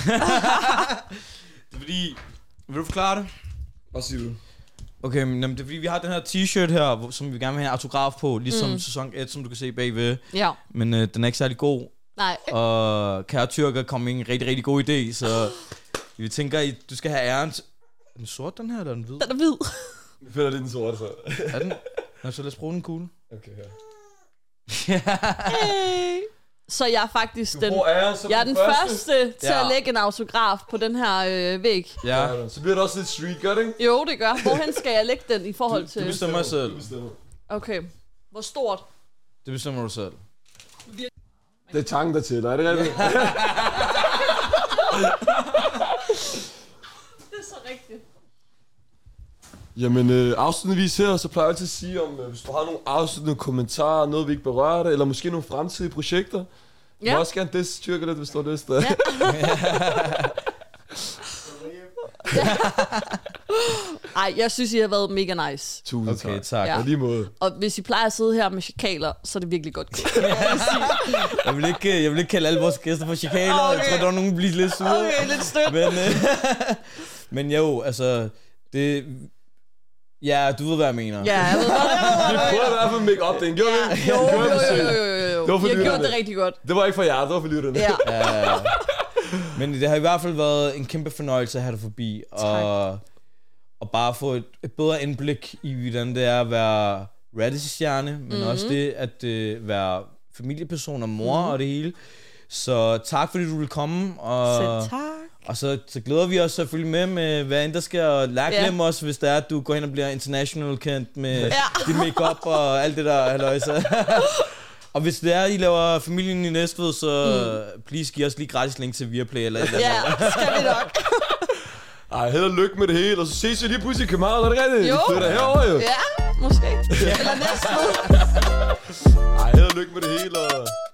Speaker 3: er fordi... Vil du forklare det?
Speaker 2: Hvad siger du?
Speaker 3: Okay, men jamen, det er fordi, vi har den her t-shirt her, hvor- som vi gerne vil have en autograf på, ligesom mm. sæson 1, som du kan se bagved.
Speaker 4: Ja,
Speaker 3: Men øh, den er ikke særlig god,
Speaker 4: nej.
Speaker 3: og kære tyrker kom med en rigtig, rigtig god idé, så vi tænker, I- du skal have æren. til- Er den sort, den her, eller er den hvid?
Speaker 4: Den er hvid.
Speaker 2: Jeg finder lidt en sort, så.
Speaker 3: Er den? Nå, så lad os bruge den kugle.
Speaker 2: Okay, her.
Speaker 4: Hey. Så jeg er faktisk den...
Speaker 2: Hvor er jeg så
Speaker 4: Jeg er den første til
Speaker 3: Ja.
Speaker 4: at lægge en autograf på den her øh, væg.
Speaker 3: Ja,
Speaker 2: Så bliver det også lidt street, gør det ikke?
Speaker 4: Jo, det gør. Hvorhen skal jeg lægge den i forhold til...
Speaker 3: du bestemmer selv.
Speaker 2: Du bestemmer.
Speaker 4: Okay. Hvor stort?
Speaker 3: Det bestemmer du selv.
Speaker 2: Det er tanken, der tæller, er det rigtigt?
Speaker 4: Det er så rigtigt.
Speaker 2: *laughs* Jamen, øh, afslutningsvis her, så plejer jeg altid at sige, om øh, hvis du har nogle afsluttende kommentarer, noget vi ikke berørte, eller måske nogle fremtidige projekter. Ja.
Speaker 4: Ja.
Speaker 2: Du må også gerne distyrke lidt, hvis du har lyst. Ja.
Speaker 4: Ej, jeg synes, I har været mega nice.
Speaker 2: *laughs* Tusind
Speaker 3: Okay,
Speaker 2: tak.
Speaker 3: tak.
Speaker 4: Ja.
Speaker 2: Ja. lige måde.
Speaker 4: Og hvis I plejer at sidde her med chikaler, så er det virkelig *laughs* godt gået.
Speaker 3: Jeg vil ikke, jeg vil ikke kalde alle vores gæster for chikaler. Okay. Jeg
Speaker 4: Okay.
Speaker 3: tror, der er nogen, der bliver lidt sure. Okay.
Speaker 4: lidt stødt.
Speaker 3: Men, øh, *laughs* men jo, altså, det... Ja, du ved, hvad jeg mener.
Speaker 4: Ja, jeg ved godt.
Speaker 2: Vi prøver i hvert fald at make up den. Gjorde vi? ikke?
Speaker 4: *laughs* Jo,
Speaker 2: Gjorde vi
Speaker 4: jo, jo,
Speaker 2: selv?
Speaker 4: jo, jo, jo.
Speaker 2: Det var for
Speaker 4: I har gjort
Speaker 2: dyrene.
Speaker 4: det rigtig godt.
Speaker 2: Det var ikke for jer, det var for lytterne.
Speaker 4: Ja.
Speaker 3: Ja. Men det har i hvert fald været en kæmpe fornøjelse at have dig forbi. Og, og bare få et, et bedre indblik i, hvordan det er at være reality-stjerne, men
Speaker 4: Mhm.
Speaker 3: mm-hmm. også det at øh, være familieperson og mor
Speaker 4: Mhm.
Speaker 3: mm-hmm. og det hele. Så tak, fordi du vil komme. Og,
Speaker 4: Selv tak.
Speaker 3: Og så, så glæder vi os selvfølgelig med, med hvad end der sker, og lad
Speaker 4: Ja.
Speaker 3: yeah. glemme os, hvis det er, at du går hen og bliver international kendt med yeah.
Speaker 4: Ja.
Speaker 3: *laughs* din makeup og alt det der halløjsa. *laughs* og hvis det er, at I laver familien i Næstved, så mm. please giv os lige gratis link til Viaplay eller et eller andet.
Speaker 4: Ja, skal vi nok.
Speaker 2: *laughs* Ej, held og lykke med det hele, og så ses vi lige pludselig i København, er det rigtigt?
Speaker 4: Jo.
Speaker 2: Vi flytter herover jo.
Speaker 4: Ja, måske. Eller næste uge.
Speaker 2: Ej, held og lykke med det hele, og